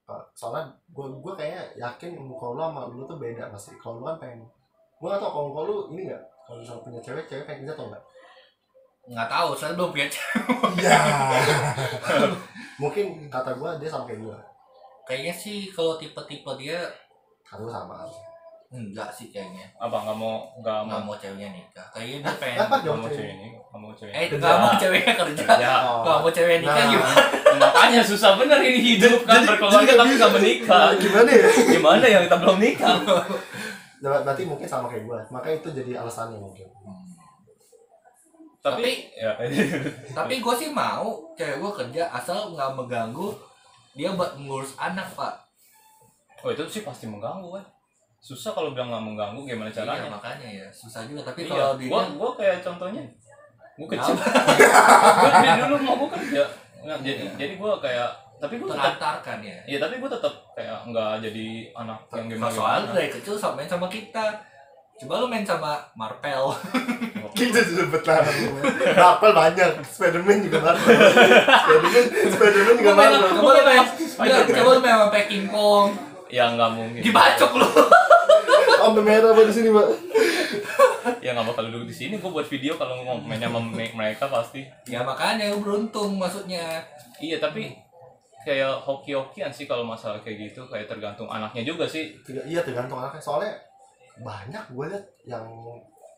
[SPEAKER 2] Eh, soalnya gue gue kayak yakin kalau lu sama lu tuh beda pasti kalau lu kan pengen gue gak tau kalau kalau lu ini gak kalau misalnya punya cewek cewek pengen kita atau enggak
[SPEAKER 3] Nggak tahu, saya belum punya cerai.
[SPEAKER 2] iya mungkin kata gue dia sama kayak gue
[SPEAKER 3] Kayaknya sih kalau tipe-tipe dia
[SPEAKER 2] kata gue sama
[SPEAKER 3] enggak sih kayaknya.
[SPEAKER 1] apa nggak mau nggak mau
[SPEAKER 3] Nggak mau ceweknya nikah. Kayaknya dia pengen.
[SPEAKER 2] apa
[SPEAKER 1] nggak
[SPEAKER 2] jauh
[SPEAKER 1] mau cewek
[SPEAKER 2] cewek
[SPEAKER 1] ini nggak mau cewek ini.
[SPEAKER 3] Eh,
[SPEAKER 2] Kerja.
[SPEAKER 3] nggak mau ceweknya kerja.
[SPEAKER 1] ya
[SPEAKER 2] Oh.
[SPEAKER 3] Nggak mau ceweknya nikah
[SPEAKER 2] Nah.
[SPEAKER 3] gimana?
[SPEAKER 1] makanya susah bener ini hidup kan
[SPEAKER 2] Jadi-
[SPEAKER 1] berkeluarga
[SPEAKER 2] jadi
[SPEAKER 1] tapi nggak menikah
[SPEAKER 2] gimana ya
[SPEAKER 1] gimana yang kita belum nikah
[SPEAKER 2] Nah, berarti mungkin sama kayak gue makanya itu jadi alasannya mungkin
[SPEAKER 3] Hmm.
[SPEAKER 1] tapi
[SPEAKER 3] Tapi-
[SPEAKER 1] ya
[SPEAKER 3] Tapi gue sih mau cewek gue kerja asal nggak mengganggu dia buat ngurus anak pak.
[SPEAKER 1] oh itu sih pasti mengganggu kan susah kalau bilang nggak mengganggu gimana caranya
[SPEAKER 3] Iya, makanya ya susah juga. Tapi
[SPEAKER 1] Iya,
[SPEAKER 3] kalau dia
[SPEAKER 1] gua gua kayak contohnya gua kecil. gua dari dulu mau gua kerja. Nah, jadi
[SPEAKER 3] Iya.
[SPEAKER 1] jadi gua kayak tapi gua tetap
[SPEAKER 3] terantarkan ya.
[SPEAKER 1] Iya, tapi gua tetap kayak nggak jadi anak yang gimana
[SPEAKER 3] Soalnya
[SPEAKER 1] gimana.
[SPEAKER 3] dari kecil sama main sama kita. Coba lu main sama Marvel.
[SPEAKER 2] kita sudah betah Marvel banyak Spiderman juga Marvel Spiderman Spiderman juga
[SPEAKER 1] Gua main
[SPEAKER 2] Marvel
[SPEAKER 1] apa?
[SPEAKER 3] Coba lu main.
[SPEAKER 1] Spider-Man.
[SPEAKER 3] Coba lu main sama Packing Pong.
[SPEAKER 1] Ya nggak mungkin.
[SPEAKER 3] Dibacok lu.
[SPEAKER 2] sampai merah pak di sini pak.
[SPEAKER 1] ya nggak bakal duduk di sini gue buat video kalau mau mainnya sama me- mereka pasti
[SPEAKER 3] ya makanya lu beruntung maksudnya
[SPEAKER 1] iya tapi kayak hoki-hokian sih kalau masalah kayak gitu kayak tergantung anaknya juga sih
[SPEAKER 2] Tiga- iya tergantung anaknya soalnya banyak gue liat yang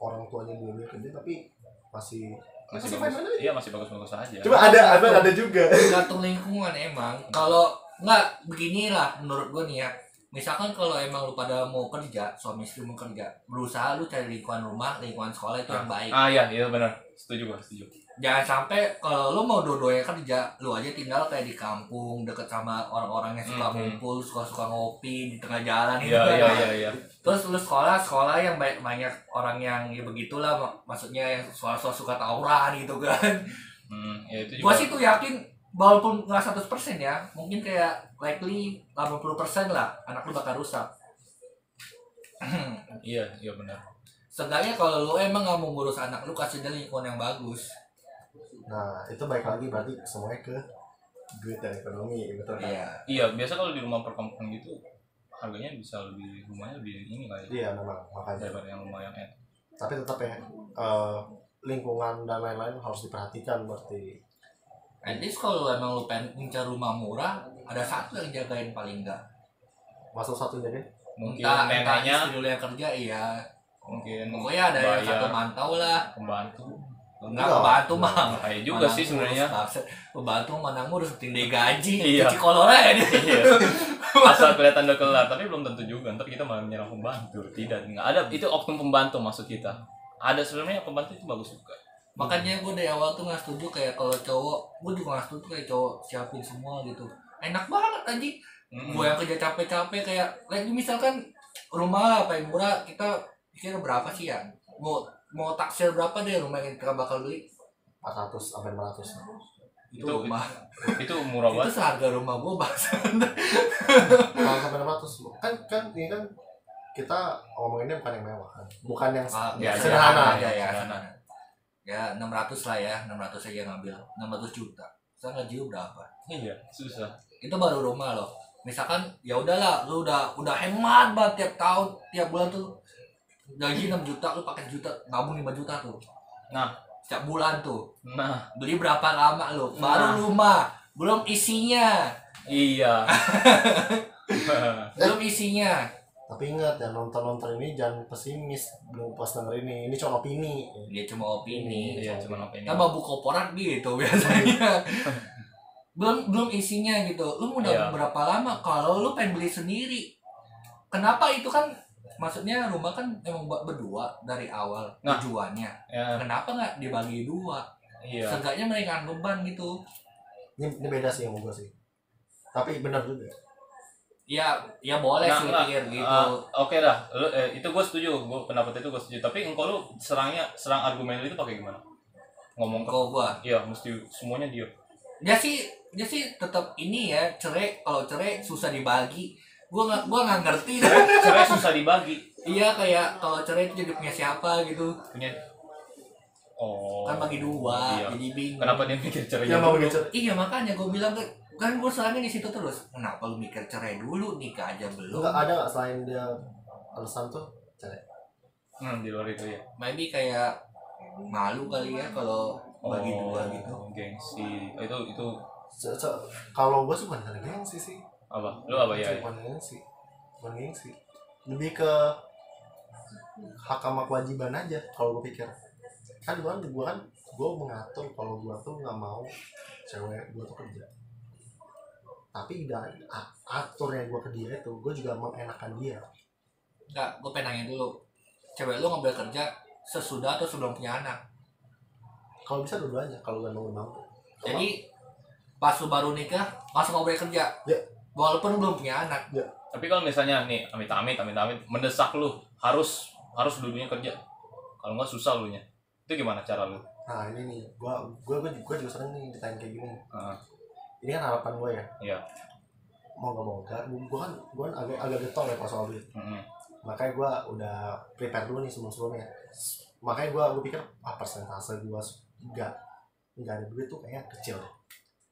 [SPEAKER 2] orang tuanya dua-dua kerja tapi masih
[SPEAKER 1] masih
[SPEAKER 2] main
[SPEAKER 1] bagus
[SPEAKER 2] aja.
[SPEAKER 1] iya masih bagus-bagus aja
[SPEAKER 2] Cuma ada, ada, ada juga.
[SPEAKER 3] tergantung lingkungan emang kalau nggak beginilah menurut gue nih ya misalkan kalau emang lu pada mau kerja suami istri mau kerja berusaha lu cari lingkungan rumah lingkungan sekolah itu yang baik
[SPEAKER 1] ah iya iya benar setuju gue setuju
[SPEAKER 3] jangan sampai kalau lu mau dua-duanya kerja lu aja tinggal kayak di kampung deket sama orang-orang yang suka
[SPEAKER 1] Mhm.
[SPEAKER 3] ngumpul suka-suka ngopi di tengah jalan gitu
[SPEAKER 1] iya
[SPEAKER 3] kan.
[SPEAKER 1] iya iya iya
[SPEAKER 3] terus lu sekolah sekolah yang banyak banyak orang yang ya begitulah mak- maksudnya yang sekolah suka tawuran gitu kan
[SPEAKER 1] hmm, ya itu
[SPEAKER 3] Gua
[SPEAKER 1] juga
[SPEAKER 3] sih tuh yakin walaupun nggak 100% ya, mungkin kayak likely 80% lah anak lu bakal rusak.
[SPEAKER 1] iya iya benar
[SPEAKER 3] Seenggaknya kalau lu emang nggak mau ngurus anak lu kasih dia lingkungan yang bagus.
[SPEAKER 2] Nah, itu baik lagi berarti semuanya ke duit dan ekonomi, betul kan?
[SPEAKER 3] Iya.
[SPEAKER 1] Iya, biasa kalau di rumah perkampungan gitu harganya bisa lebih rumahnya lebih ini lah ya,
[SPEAKER 2] Iya, memang makanya.
[SPEAKER 1] daripada yang rumah yang enak.
[SPEAKER 2] Tapi tetap ya eh, lingkungan dan lain-lain harus diperhatikan berarti.
[SPEAKER 3] At least kalau emang lu pengen incar rumah murah, ada satu yang jagain paling enggak.
[SPEAKER 2] Masuk satu jadi
[SPEAKER 1] Mungkin
[SPEAKER 3] entah, entah
[SPEAKER 1] neneknya,
[SPEAKER 3] istri lu yang kerja iya.
[SPEAKER 1] mungkin
[SPEAKER 3] Pokoknya ada yang
[SPEAKER 1] bayar.
[SPEAKER 3] satu mantau lah.
[SPEAKER 1] pembantu.
[SPEAKER 3] Enggak
[SPEAKER 2] Enggak.
[SPEAKER 3] pembantu mah.
[SPEAKER 1] Bahaya juga
[SPEAKER 3] Mana
[SPEAKER 1] sih
[SPEAKER 3] ngurus,
[SPEAKER 1] sebenarnya.
[SPEAKER 3] bangsat. Pembantu mana ngurus tinggi gaji,
[SPEAKER 1] Iya.
[SPEAKER 3] cuci kolornya dia.
[SPEAKER 1] Iya. Asal kelihatan udah kelar, tapi belum tentu juga. Ntar kita malah menyerang pembantu. Tidak, enggak ada. Itu oknum pembantu maksud kita. Ada sebenarnya pembantu itu bagus juga.
[SPEAKER 3] makanya gue dari awal tuh nggak setuju kayak kalau cowok gue juga nggak setuju kayak cowok siapin semua gitu enak banget anjing
[SPEAKER 1] Mm-mm.
[SPEAKER 3] gue yang kerja capek-capek kayak lagi misalkan rumah apa yang murah kita pikir berapa sih ya mau mau taksir berapa deh rumah yang kita bakal beli
[SPEAKER 2] 400 sampai 500.
[SPEAKER 3] itu,
[SPEAKER 1] Itu-
[SPEAKER 3] rumah
[SPEAKER 1] itu murah
[SPEAKER 3] itu
[SPEAKER 1] banget.
[SPEAKER 3] seharga rumah gue bahasa
[SPEAKER 2] Kalau sampai 500 loh. kan kan ini kan kita ngomonginnya bukan yang mewah kan. Bukan yang
[SPEAKER 3] Ah,
[SPEAKER 1] ya,
[SPEAKER 2] sederhana.
[SPEAKER 3] ya ya
[SPEAKER 1] sederhana.
[SPEAKER 3] ya enam ratus lah ya enam ratus aja ngambil enam ratus juta saya ngaji berapa
[SPEAKER 1] Iya, susah.
[SPEAKER 3] itu baru rumah loh misalkan ya udahlah lu udah udah hemat banget tiap tahun tiap bulan tuh gaji 6 juta lu pakai juta nabung 5 juta tuh
[SPEAKER 1] Nah.
[SPEAKER 3] setiap bulan tuh
[SPEAKER 1] Nah,
[SPEAKER 3] beli berapa lama lu
[SPEAKER 1] Nah.
[SPEAKER 3] baru rumah belum isinya
[SPEAKER 1] iya. Eh.
[SPEAKER 3] belum isinya
[SPEAKER 2] Tapi ingat yang nonton-nonton ini jangan pesimis belum pas denger ini. Ini cuma opini.
[SPEAKER 3] dia cuma opini
[SPEAKER 1] iya, cuma apa ini?
[SPEAKER 3] Nah, mabuk koporat gitu biasanya. belum belum isinya gitu. Lu mau
[SPEAKER 1] Iya.
[SPEAKER 3] dapat berapa lama kalau lu pengen beli sendiri? Kenapa itu kan maksudnya rumah kan emang buat berdua dari awal
[SPEAKER 1] Nah.
[SPEAKER 3] tujuannya.
[SPEAKER 1] Ya,
[SPEAKER 3] Kenapa nggak dibagi dua?
[SPEAKER 1] iya.
[SPEAKER 3] Seenggaknya mereka beban gitu.
[SPEAKER 2] Ini, ini beda sih yang gue sih. Tapi benar juga.
[SPEAKER 3] Ya, ya boleh
[SPEAKER 1] Nah,
[SPEAKER 3] sih
[SPEAKER 1] nah,
[SPEAKER 3] pikir gitu.
[SPEAKER 1] ah, Oke dah, lu, eh, itu gue setuju, gue pendapat itu gue setuju. Tapi engkau lu serangnya, serang argumen lu itu pakai gimana? Ngomong ke,
[SPEAKER 3] Kalau gua
[SPEAKER 1] iya mesti semuanya dia.
[SPEAKER 3] dia sih dia sih tetap ini ya cerai kalau cerai susah dibagi gua nggak gua nggak ngerti
[SPEAKER 1] Cerai susah dibagi,
[SPEAKER 3] iya kayak kalau cerai itu jadi punya siapa gitu
[SPEAKER 1] punya. Oh.
[SPEAKER 3] kan bagi dua
[SPEAKER 1] Iya.
[SPEAKER 3] jadi bingung
[SPEAKER 1] Kenapa dia mikir cerainya?
[SPEAKER 2] Yang mau
[SPEAKER 1] dulu?
[SPEAKER 2] bicara
[SPEAKER 3] iya makanya gue bilang kan kan gue selangnya di situ terus kenapa lu mikir cerai dulu nikah aja belum
[SPEAKER 2] Enggak ada nggak selain dia alasan tuh
[SPEAKER 1] Hmm, di luar itu ya.
[SPEAKER 3] maybe Nah, kayak malu kali ya kalau bagi
[SPEAKER 1] Oh.
[SPEAKER 3] dua gitu
[SPEAKER 1] Gengsi, itu itu
[SPEAKER 2] Se- se- kalau gue sih bukan karena gengsi sih
[SPEAKER 1] apa? Lu apa ya?
[SPEAKER 2] bukan gengsi bukan gengsi lebih ke hak sama kewajiban aja kalau gue pikir kan gue kan gue kan gue mengatur kalau gue tuh nggak mau cewek gue tuh kerja tapi dan a- aturnya gue ke dia itu gue juga mengenakan dia
[SPEAKER 3] enggak gue pengen nanya dulu cewek lu ngambil kerja sesudah atau sebelum punya anak
[SPEAKER 2] kalau bisa dua-duanya kalau gak mau mampu
[SPEAKER 3] jadi pas lu baru nikah langsung ngobrol kerja
[SPEAKER 2] Ya.
[SPEAKER 3] walaupun belum punya anak
[SPEAKER 1] Tapi kalau misalnya nih, amit amit amit amit mendesak lu harus harus dulunya kerja. Kalau nggak susah lu nya. Itu gimana cara lu?
[SPEAKER 2] nah ini nih gue gue gue juga sering nih ditanya kayak gini
[SPEAKER 1] Ah.
[SPEAKER 2] ini kan harapan gue ya
[SPEAKER 1] Iya.
[SPEAKER 2] mau gak mau enggak gue kan gue kan agak agak getol ya pas soal duit
[SPEAKER 1] Mm-mm.
[SPEAKER 2] makanya gue udah prepare dulu nih sebelum sebelumnya makanya gue gue pikir ah persentase gue enggak enggak ada duit tuh kayaknya kecil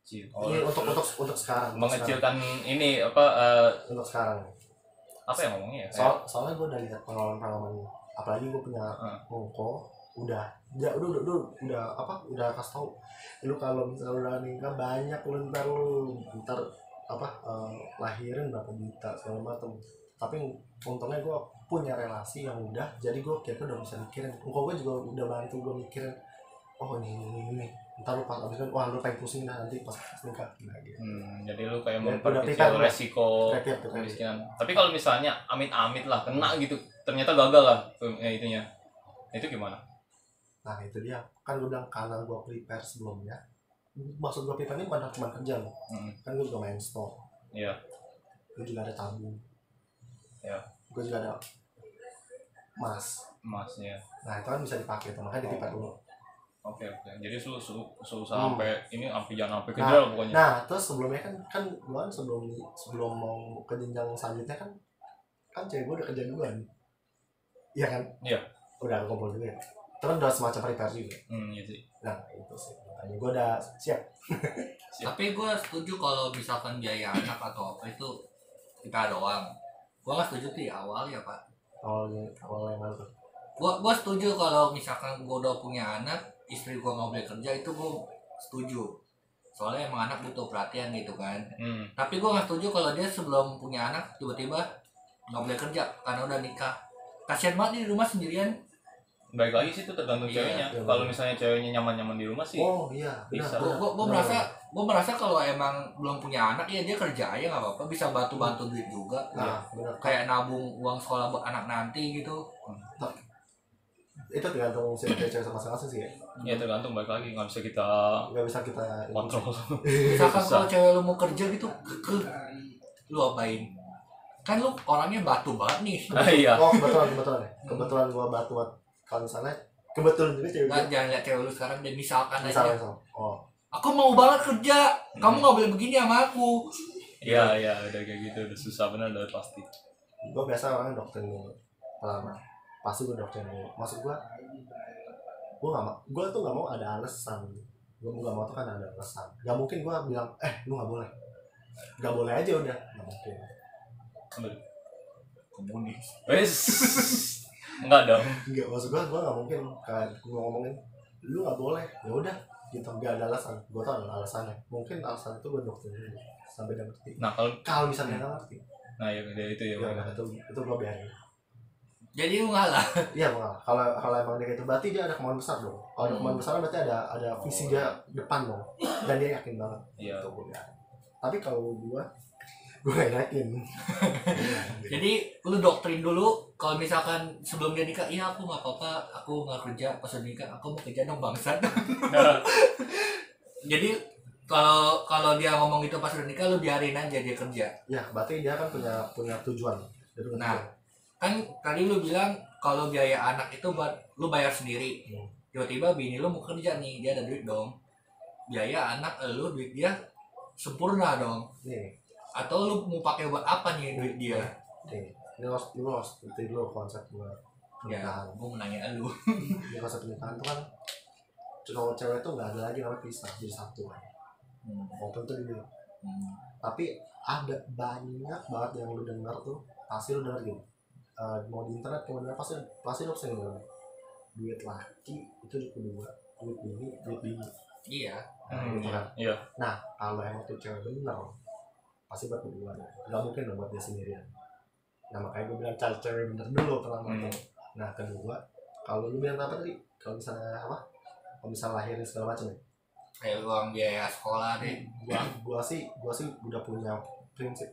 [SPEAKER 1] Ci- Oh, iya,
[SPEAKER 3] Iya,
[SPEAKER 2] Ini untuk untuk untuk sekarang untuk
[SPEAKER 1] mengecilkan ini apa eh,
[SPEAKER 2] sekarang, untuk sekarang
[SPEAKER 1] apa yang ngomongnya ya?
[SPEAKER 2] Soal, soalnya gue udah lihat pengalaman pengalamannya apalagi gue punya
[SPEAKER 1] Heeh.
[SPEAKER 2] mongko udah ya udah udah udah, udah apa udah kasih tau lu kalau misalnya udah nikah banyak lu ntar lu ntar apa eh, lahirin berapa juta segala macam tapi untungnya gue punya relasi yang udah jadi gue kira udah bisa mikirin mongko gue juga udah bantu gue mikirin oh ini ini ini, ini. ntar lu pas abis kan wah lu pengen pusing dah nanti pas nikah nah, gitu.
[SPEAKER 1] Hmm, jadi lu kayak
[SPEAKER 2] Ya, udah
[SPEAKER 1] memperkecil
[SPEAKER 2] prepare lu.
[SPEAKER 1] resiko
[SPEAKER 2] Prepare, prepare.
[SPEAKER 1] kemiskinan. Tapi kalau misalnya amit-amit lah kena gitu, ternyata gagal lah eh, itunya. Itu gimana?
[SPEAKER 2] Nah itu dia kan gue bilang karena gue prepare sebelumnya maksud gue prepare ini bukan cuma kerja loh
[SPEAKER 1] Hmm.
[SPEAKER 2] kan gue juga main store
[SPEAKER 1] Iya.
[SPEAKER 2] gue juga ada tabung
[SPEAKER 1] Iya.
[SPEAKER 2] gue juga ada emas
[SPEAKER 1] Emasnya.
[SPEAKER 2] nah itu kan bisa dipakai tuh
[SPEAKER 1] Iya.
[SPEAKER 2] makanya dipipet dulu
[SPEAKER 1] Oke oke. Jadi lu su- susah
[SPEAKER 2] Hmm.
[SPEAKER 1] sampai ini sampai jangan sampai
[SPEAKER 2] Nah,
[SPEAKER 1] kejar lah pokoknya.
[SPEAKER 2] nah terus sebelumnya kan kan gue kan sebelum sebelum mau ke jenjang selanjutnya kan kan cewek gue udah kerja duluan iya kan
[SPEAKER 1] Iya.
[SPEAKER 2] udah kumpul dulu ya terus udah semacam prepare juga
[SPEAKER 1] Hmm, iya sih.
[SPEAKER 2] nah itu sih makanya gue udah siap
[SPEAKER 1] Ya.
[SPEAKER 3] Tapi gue setuju kalau misalkan biaya anak atau apa itu kita doang. Gue gak setuju tuh di awal ya pak.
[SPEAKER 2] awalnya awal yang baru tuh
[SPEAKER 3] Gue gua setuju kalau misalkan gue udah punya anak, istri gue nggak boleh kerja itu gue setuju. Soalnya emang anak butuh perhatian gitu kan.
[SPEAKER 1] Hmm.
[SPEAKER 3] Tapi gue gak setuju kalau dia sebelum punya anak tiba-tiba nggak boleh kerja karena udah nikah. Kasian banget di rumah sendirian.
[SPEAKER 1] Baik lagi sih itu tergantung
[SPEAKER 3] Iya,
[SPEAKER 1] ceweknya.
[SPEAKER 2] iya,
[SPEAKER 1] Kalau
[SPEAKER 2] bener.
[SPEAKER 1] misalnya ceweknya nyaman-nyaman di rumah sih.
[SPEAKER 2] oh iya
[SPEAKER 1] Bisa.
[SPEAKER 2] benar
[SPEAKER 3] Gue
[SPEAKER 2] benar,
[SPEAKER 3] gua, gua
[SPEAKER 2] benar.
[SPEAKER 3] merasa gue merasa kalau emang belum punya anak ya dia kerja aja nggak apa-apa bisa bantu-bantu duit juga.
[SPEAKER 1] Iya.
[SPEAKER 2] nah benar
[SPEAKER 3] kayak nabung uang sekolah buat anak nanti gitu
[SPEAKER 2] itu tergantung si cewek sama masing-masing sih ya
[SPEAKER 1] Ya tergantung baik lagi nggak bisa kita
[SPEAKER 2] nggak bisa kita
[SPEAKER 1] kontrol.
[SPEAKER 3] misalkan
[SPEAKER 1] Susah.
[SPEAKER 3] kalau cewek lu mau kerja gitu ke lu apain kan lu orangnya batu banget nih
[SPEAKER 1] Ah, iya.
[SPEAKER 2] Oh kebetulan kebetulan ya. Kebetulan gua batu kalau misalnya kebetulan juga cewek
[SPEAKER 3] Nah,
[SPEAKER 2] gue.
[SPEAKER 3] jangan lihat cewek lu sekarang dan misalkan
[SPEAKER 2] Misalnya
[SPEAKER 3] aja
[SPEAKER 2] so. Oh.
[SPEAKER 3] aku mau banget kerja kamu nggak boleh begini sama aku
[SPEAKER 1] Iya iya udah kayak gitu udah susah benar udah pasti.
[SPEAKER 2] Gua biasa orangnya doktrin dulu. Pertama. Pasti gua doktrin dulu. Maksud gua gua gak mau gua tuh gak mau ada alasan. Gua gak mau tuh kan ada alasan. Gak mungkin gua bilang eh lu gak boleh. Gak boleh aja udah. Gak mungkin.
[SPEAKER 3] komunis
[SPEAKER 1] Wes. Enggak dong.
[SPEAKER 2] Enggak maksud gua gua gak mungkin kayak gua ngomongin lu gak boleh. Ya udah gitu gak ada alasan. Gua tau ada alasannya. Mungkin alasan itu gua doktrin dulu sampai dia ngerti.
[SPEAKER 1] Nah kalau
[SPEAKER 2] Kalau misalnya dia nggak ngerti,
[SPEAKER 1] nah ya udah itu ya.
[SPEAKER 2] ya
[SPEAKER 1] udah.
[SPEAKER 2] udah itu itu gua biarin.
[SPEAKER 3] jadi lu ngalah
[SPEAKER 2] Iya mengalah. Kalau kalau emang dia itu berarti dia ada kemauan besar dong. Kalau ada kemauan besar berarti ada ada visi dia depan dong. Dan dia yakin banget.
[SPEAKER 1] Iya.
[SPEAKER 2] Itu gua bilang. Tapi kalau gua gua gak yakin.
[SPEAKER 3] jadi lu doktrin dulu kalau misalkan sebelum dia nikah iya aku nggak apa-apa aku nggak kerja pas udah nikah aku mau kerja dong bangsat
[SPEAKER 1] Iya.
[SPEAKER 3] jadi kalau kalau dia ngomong gitu pas udah nikah lu biarin aja dia kerja
[SPEAKER 2] ya berarti dia kan punya punya tujuan. Dia punya
[SPEAKER 3] Nah.
[SPEAKER 2] tujuan.
[SPEAKER 3] kan tadi lu bilang kalau biaya anak itu buat lu bayar sendiri
[SPEAKER 2] Hmm.
[SPEAKER 3] tiba-tiba bini lu mau kerja nih dia ada duit dong biaya anak eh, lu duit dia sempurna dong
[SPEAKER 2] nih
[SPEAKER 3] atau lu mau pakai buat apa nih duit dia
[SPEAKER 2] nih ini harus ini harus itu dulu konsep gua
[SPEAKER 3] ya
[SPEAKER 2] pernikahan.
[SPEAKER 3] gua mau nanya lu
[SPEAKER 2] Ini konsep pernikahan tuh kan cowok cewek tuh nggak ada lagi namanya pisah jadi satu. kan.
[SPEAKER 3] Hmm,
[SPEAKER 2] Maupun tuh ini
[SPEAKER 3] hmm.
[SPEAKER 2] tapi ada banyak banget yang lu dengar tuh pasti lu denger gini Eh, mau di internet kemana pasti pasti lu sering denger duit laki itu duit kedua duit bini duit bini
[SPEAKER 3] iya
[SPEAKER 1] Hmm,
[SPEAKER 2] gitu
[SPEAKER 1] iya.
[SPEAKER 2] kan.
[SPEAKER 1] Iya.
[SPEAKER 2] nah kalau emang tuh cewek bener pasti buat kedua nggak mungkin dong buat dia sendirian nah makanya gue bilang cari cewek bener dulu pertama
[SPEAKER 1] Hmm.
[SPEAKER 2] tuh nah kedua kalau lu bilang apa tadi kalau misalnya apa kalau misalnya lahirin segala macam ya
[SPEAKER 3] kayak uang biaya sekolah
[SPEAKER 1] Hmm.
[SPEAKER 3] deh
[SPEAKER 2] gua gua sih gua sih udah punya prinsip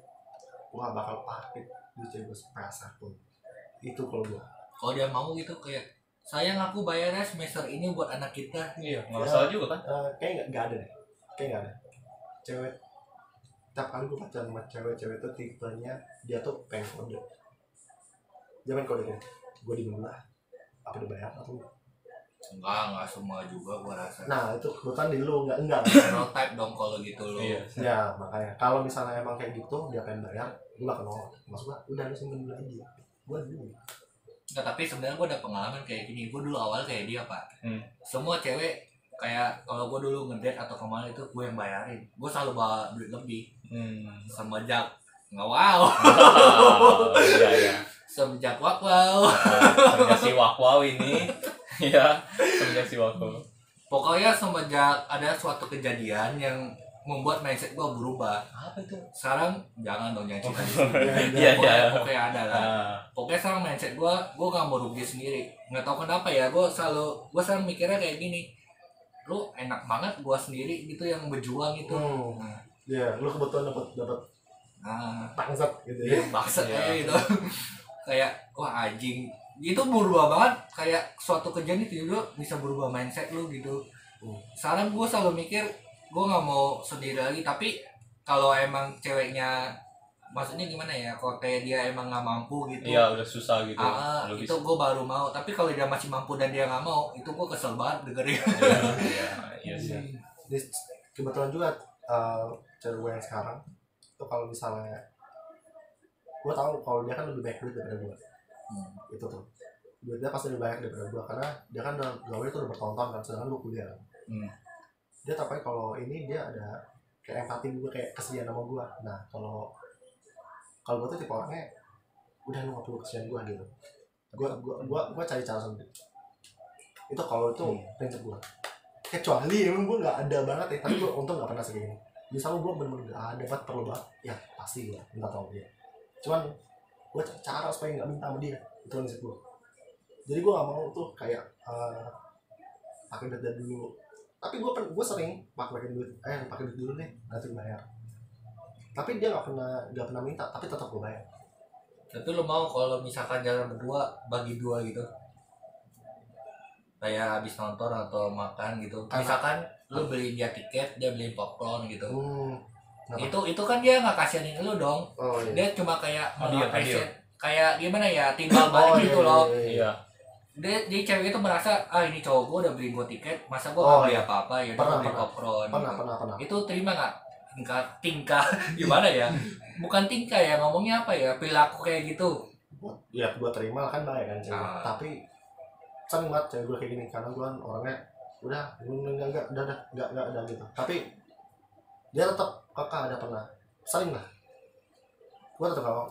[SPEAKER 2] gua gak bakal pakai duit cewek gua sepeser pun itu kalau gua
[SPEAKER 3] kalau dia mau gitu kayak sayang aku bayarnya semester ini buat anak kita
[SPEAKER 1] Iya, nggak
[SPEAKER 2] Iya.
[SPEAKER 1] masalah juga kan?
[SPEAKER 2] Eh, kayak nggak nggak ada deh kayak nggak ada cewek tiap kali gua pacaran sama cewek-cewek tuh tipenya dia tuh pengen kode jangan kode gini gua di mana apa dibayar atau enggak
[SPEAKER 3] enggak enggak semua juga gua rasa
[SPEAKER 2] nah itu kebetulan di lu nggak enggak
[SPEAKER 3] stereotype dong kalau gitu lu
[SPEAKER 1] Iya.
[SPEAKER 2] ya makanya kalau misalnya emang kayak gitu dia pengen bayar gua gak kenal maksud gua udah lu simpen dulu aja gua dulu
[SPEAKER 3] Nggak, tapi sebenarnya gue ada pengalaman kayak gini. Gue dulu awal kayak dia, Pak.
[SPEAKER 1] Hmm.
[SPEAKER 3] Semua cewek kayak kalau gue dulu ngedate atau kemana itu gue yang bayarin. Gue selalu bawa duit lebih.
[SPEAKER 1] Hmm.
[SPEAKER 3] Semenjak nggak
[SPEAKER 1] Ah,
[SPEAKER 3] wow
[SPEAKER 1] iya iya.
[SPEAKER 3] semenjak wow
[SPEAKER 1] Ah, semenjak si Wakwaw ini ya semenjak si Wakwaw.
[SPEAKER 3] pokoknya semenjak ada suatu kejadian yang membuat mindset gua berubah
[SPEAKER 1] Apa itu? Oh,
[SPEAKER 3] sekarang jangan dong yang cinta
[SPEAKER 1] Iya,
[SPEAKER 3] Pokoknya-
[SPEAKER 1] iya.
[SPEAKER 3] pokoknya ada lah
[SPEAKER 1] Ah,
[SPEAKER 3] pokoknya sekarang mindset gue gue gak mau rugi sendiri nggak tahu kenapa ya gue selalu gue sekarang mikirnya kayak gini lu enak banget gue sendiri gitu yang berjuang gitu
[SPEAKER 2] Hmm.
[SPEAKER 3] nah,
[SPEAKER 2] Iya, lu kebetulan dapat dapat
[SPEAKER 3] nah
[SPEAKER 2] tangsat gitu ya.
[SPEAKER 3] dia baksa
[SPEAKER 1] Iya.
[SPEAKER 3] kayak gitu kayak wah anjing itu berubah banget kayak suatu kejadian itu juga bisa berubah mindset lu gitu
[SPEAKER 2] Hmm.
[SPEAKER 3] sekarang gue selalu mikir gue nggak mau sendiri lagi tapi kalau emang ceweknya maksudnya gimana ya kalau kayak dia emang nggak mampu gitu
[SPEAKER 1] Iya udah susah gitu.
[SPEAKER 3] Ah,
[SPEAKER 1] Lu
[SPEAKER 3] itu
[SPEAKER 1] bisa-
[SPEAKER 3] gue baru mau. Tapi kalau dia masih mampu dan dia nggak mau, itu gue kesel banget dengerin.
[SPEAKER 1] Iya, iya, iya sih.
[SPEAKER 2] Jadi, kebetulan juga eh cewek gue yang sekarang itu kalau misalnya gue tahu kalau dia kan lebih banyak duit daripada gue
[SPEAKER 3] Hmm.
[SPEAKER 2] itu tuh duitnya pasti lebih banyak daripada gue karena dia kan udah gawe itu udah bertonton kan sedangkan gue kuliah
[SPEAKER 3] Hmm.
[SPEAKER 2] dia tapi kalau ini dia ada kayak empati gue kayak kesedihan sama gue nah kalau kalau gue tuh tipe orangnya udah lu nggak perlu kesedihan gue gitu gue gue gue gue cari cara sendiri itu kalau itu
[SPEAKER 3] Hmm.
[SPEAKER 2] prinsip gue kecuali emang gue nggak ada banget ya tapi gue untung nggak pernah segini misalnya gue bener-bener nggak ada banget perlu banget ya pasti gue minta tolong dia cuman gue cara supaya nggak minta sama dia itu prinsip gue jadi gue gak mau tuh kayak eh pakai duit dari dulu tapi gue pen- gue sering pakai duit eh pakai duit dulu nih nanti bayar tapi dia gak pernah gak pernah minta tapi tetap gue bayar
[SPEAKER 3] Tapi lo mau kalau misalkan jalan berdua bagi dua gitu, kayak habis nonton atau makan gitu.
[SPEAKER 2] Karena-
[SPEAKER 3] Misalkan lo beliin dia tiket, dia beliin popcorn gitu.
[SPEAKER 2] hmm Kenapa?
[SPEAKER 3] Itu itu kan dia nggak kasihanin lo dong.
[SPEAKER 2] oh iya
[SPEAKER 3] Dia cuma kayak
[SPEAKER 1] Hadiah,
[SPEAKER 3] mengapresiat- kayak gimana ya timbal balik gitu loh.
[SPEAKER 2] iya,
[SPEAKER 1] Iya.
[SPEAKER 3] Dia, jadi cewek itu merasa ah ini cowok gue udah beliin gue tiket, masa gue
[SPEAKER 2] Oh,
[SPEAKER 3] nggak beli
[SPEAKER 2] iya.
[SPEAKER 3] apa-apa ya
[SPEAKER 2] Pernah,
[SPEAKER 3] udah beli
[SPEAKER 2] pernah.
[SPEAKER 3] popcorn.
[SPEAKER 2] iya. pernah
[SPEAKER 3] gitu.
[SPEAKER 2] pernah pernah
[SPEAKER 3] itu terima nggak tingkah tingkah gimana ya bukan tingkah ya ngomongnya apa ya perilaku kayak gitu
[SPEAKER 2] ya gue terima kan baik kan cewek
[SPEAKER 3] Ah.
[SPEAKER 2] tapi sering banget cewek gue kayak gini karena gue kan orangnya udah enggak enggak udah udah enggak enggak udah gitu tapi dia tetap kakak ada pernah sering lah gue tetap gak mau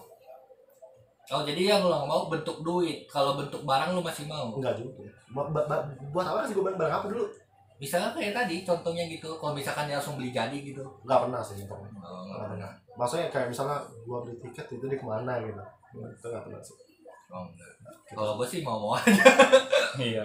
[SPEAKER 3] oh jadi yang lo nggak mau bentuk duit kalau bentuk barang lo masih mau
[SPEAKER 2] enggak juga ya. Ba- ba- ba- buat apa sih gue barang barang apa dulu
[SPEAKER 3] misalnya kayak tadi contohnya gitu kalau misalkan dia langsung beli jadi gitu
[SPEAKER 2] enggak pernah sih
[SPEAKER 3] oh,
[SPEAKER 2] untungnya
[SPEAKER 3] nggak
[SPEAKER 2] Nggak
[SPEAKER 3] pernah
[SPEAKER 2] maksudnya kayak misalnya gue beli tiket itu di kemana gitu itu enggak pernah sih
[SPEAKER 3] Oh, nggak. kalau gue sih mau mau
[SPEAKER 1] Iya.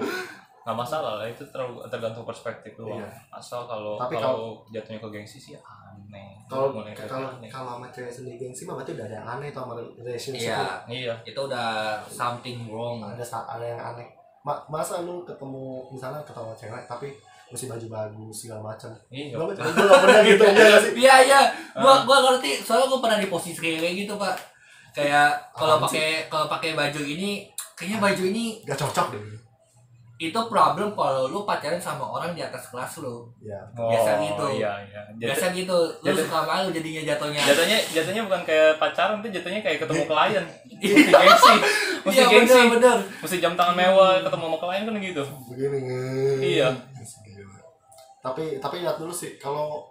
[SPEAKER 1] Nggak masalah lah itu terlalu tergantung perspektif lu.
[SPEAKER 2] Iya.
[SPEAKER 1] Asal kalau
[SPEAKER 2] Tapi
[SPEAKER 1] kalau jatuhnya ke gengsi sih aneh.
[SPEAKER 2] kalau
[SPEAKER 1] Mulai dari
[SPEAKER 2] kalau
[SPEAKER 1] aneh.
[SPEAKER 2] kalau sama cewek sendiri gengsi mah berarti udah ada yang aneh tuh sama relationship lu.
[SPEAKER 3] iya
[SPEAKER 1] iya.
[SPEAKER 3] itu udah something wrong
[SPEAKER 1] Hmm.
[SPEAKER 2] ada sa- ada yang aneh Ma- masa lu ketemu misalnya ketemu cewek tapi mesti baju bagus segala macam
[SPEAKER 1] Iya.
[SPEAKER 2] gue gak gua nggak pernah gitu enggak nggak sih
[SPEAKER 3] iya iya gua gua ngerti soalnya gua pernah di posisi kayak gitu pak kayak kalau
[SPEAKER 2] Apaan sih?
[SPEAKER 3] pakai kalau pakai baju ini kayaknya baju ini
[SPEAKER 2] gak cocok deh
[SPEAKER 3] itu problem kalau lu pacaran sama orang di atas kelas lu
[SPEAKER 2] ya
[SPEAKER 3] Biasa gitu.
[SPEAKER 1] Iya, iya. Jat-
[SPEAKER 3] biasa gitu lu
[SPEAKER 1] jatuh-
[SPEAKER 3] suka malu jadinya jatuhnya
[SPEAKER 1] jatuhnya jatuhnya bukan kayak pacaran tuh jatuhnya kayak ketemu klien.
[SPEAKER 3] Iya.
[SPEAKER 1] Mesti gengsi. Mesti
[SPEAKER 3] iya
[SPEAKER 1] gengsi.
[SPEAKER 3] bener bener
[SPEAKER 1] Mesti jam tangan mewah ketemu sama klien kan gitu.
[SPEAKER 2] begini
[SPEAKER 1] Iya.
[SPEAKER 2] tapi tapi lihat dulu sih kalau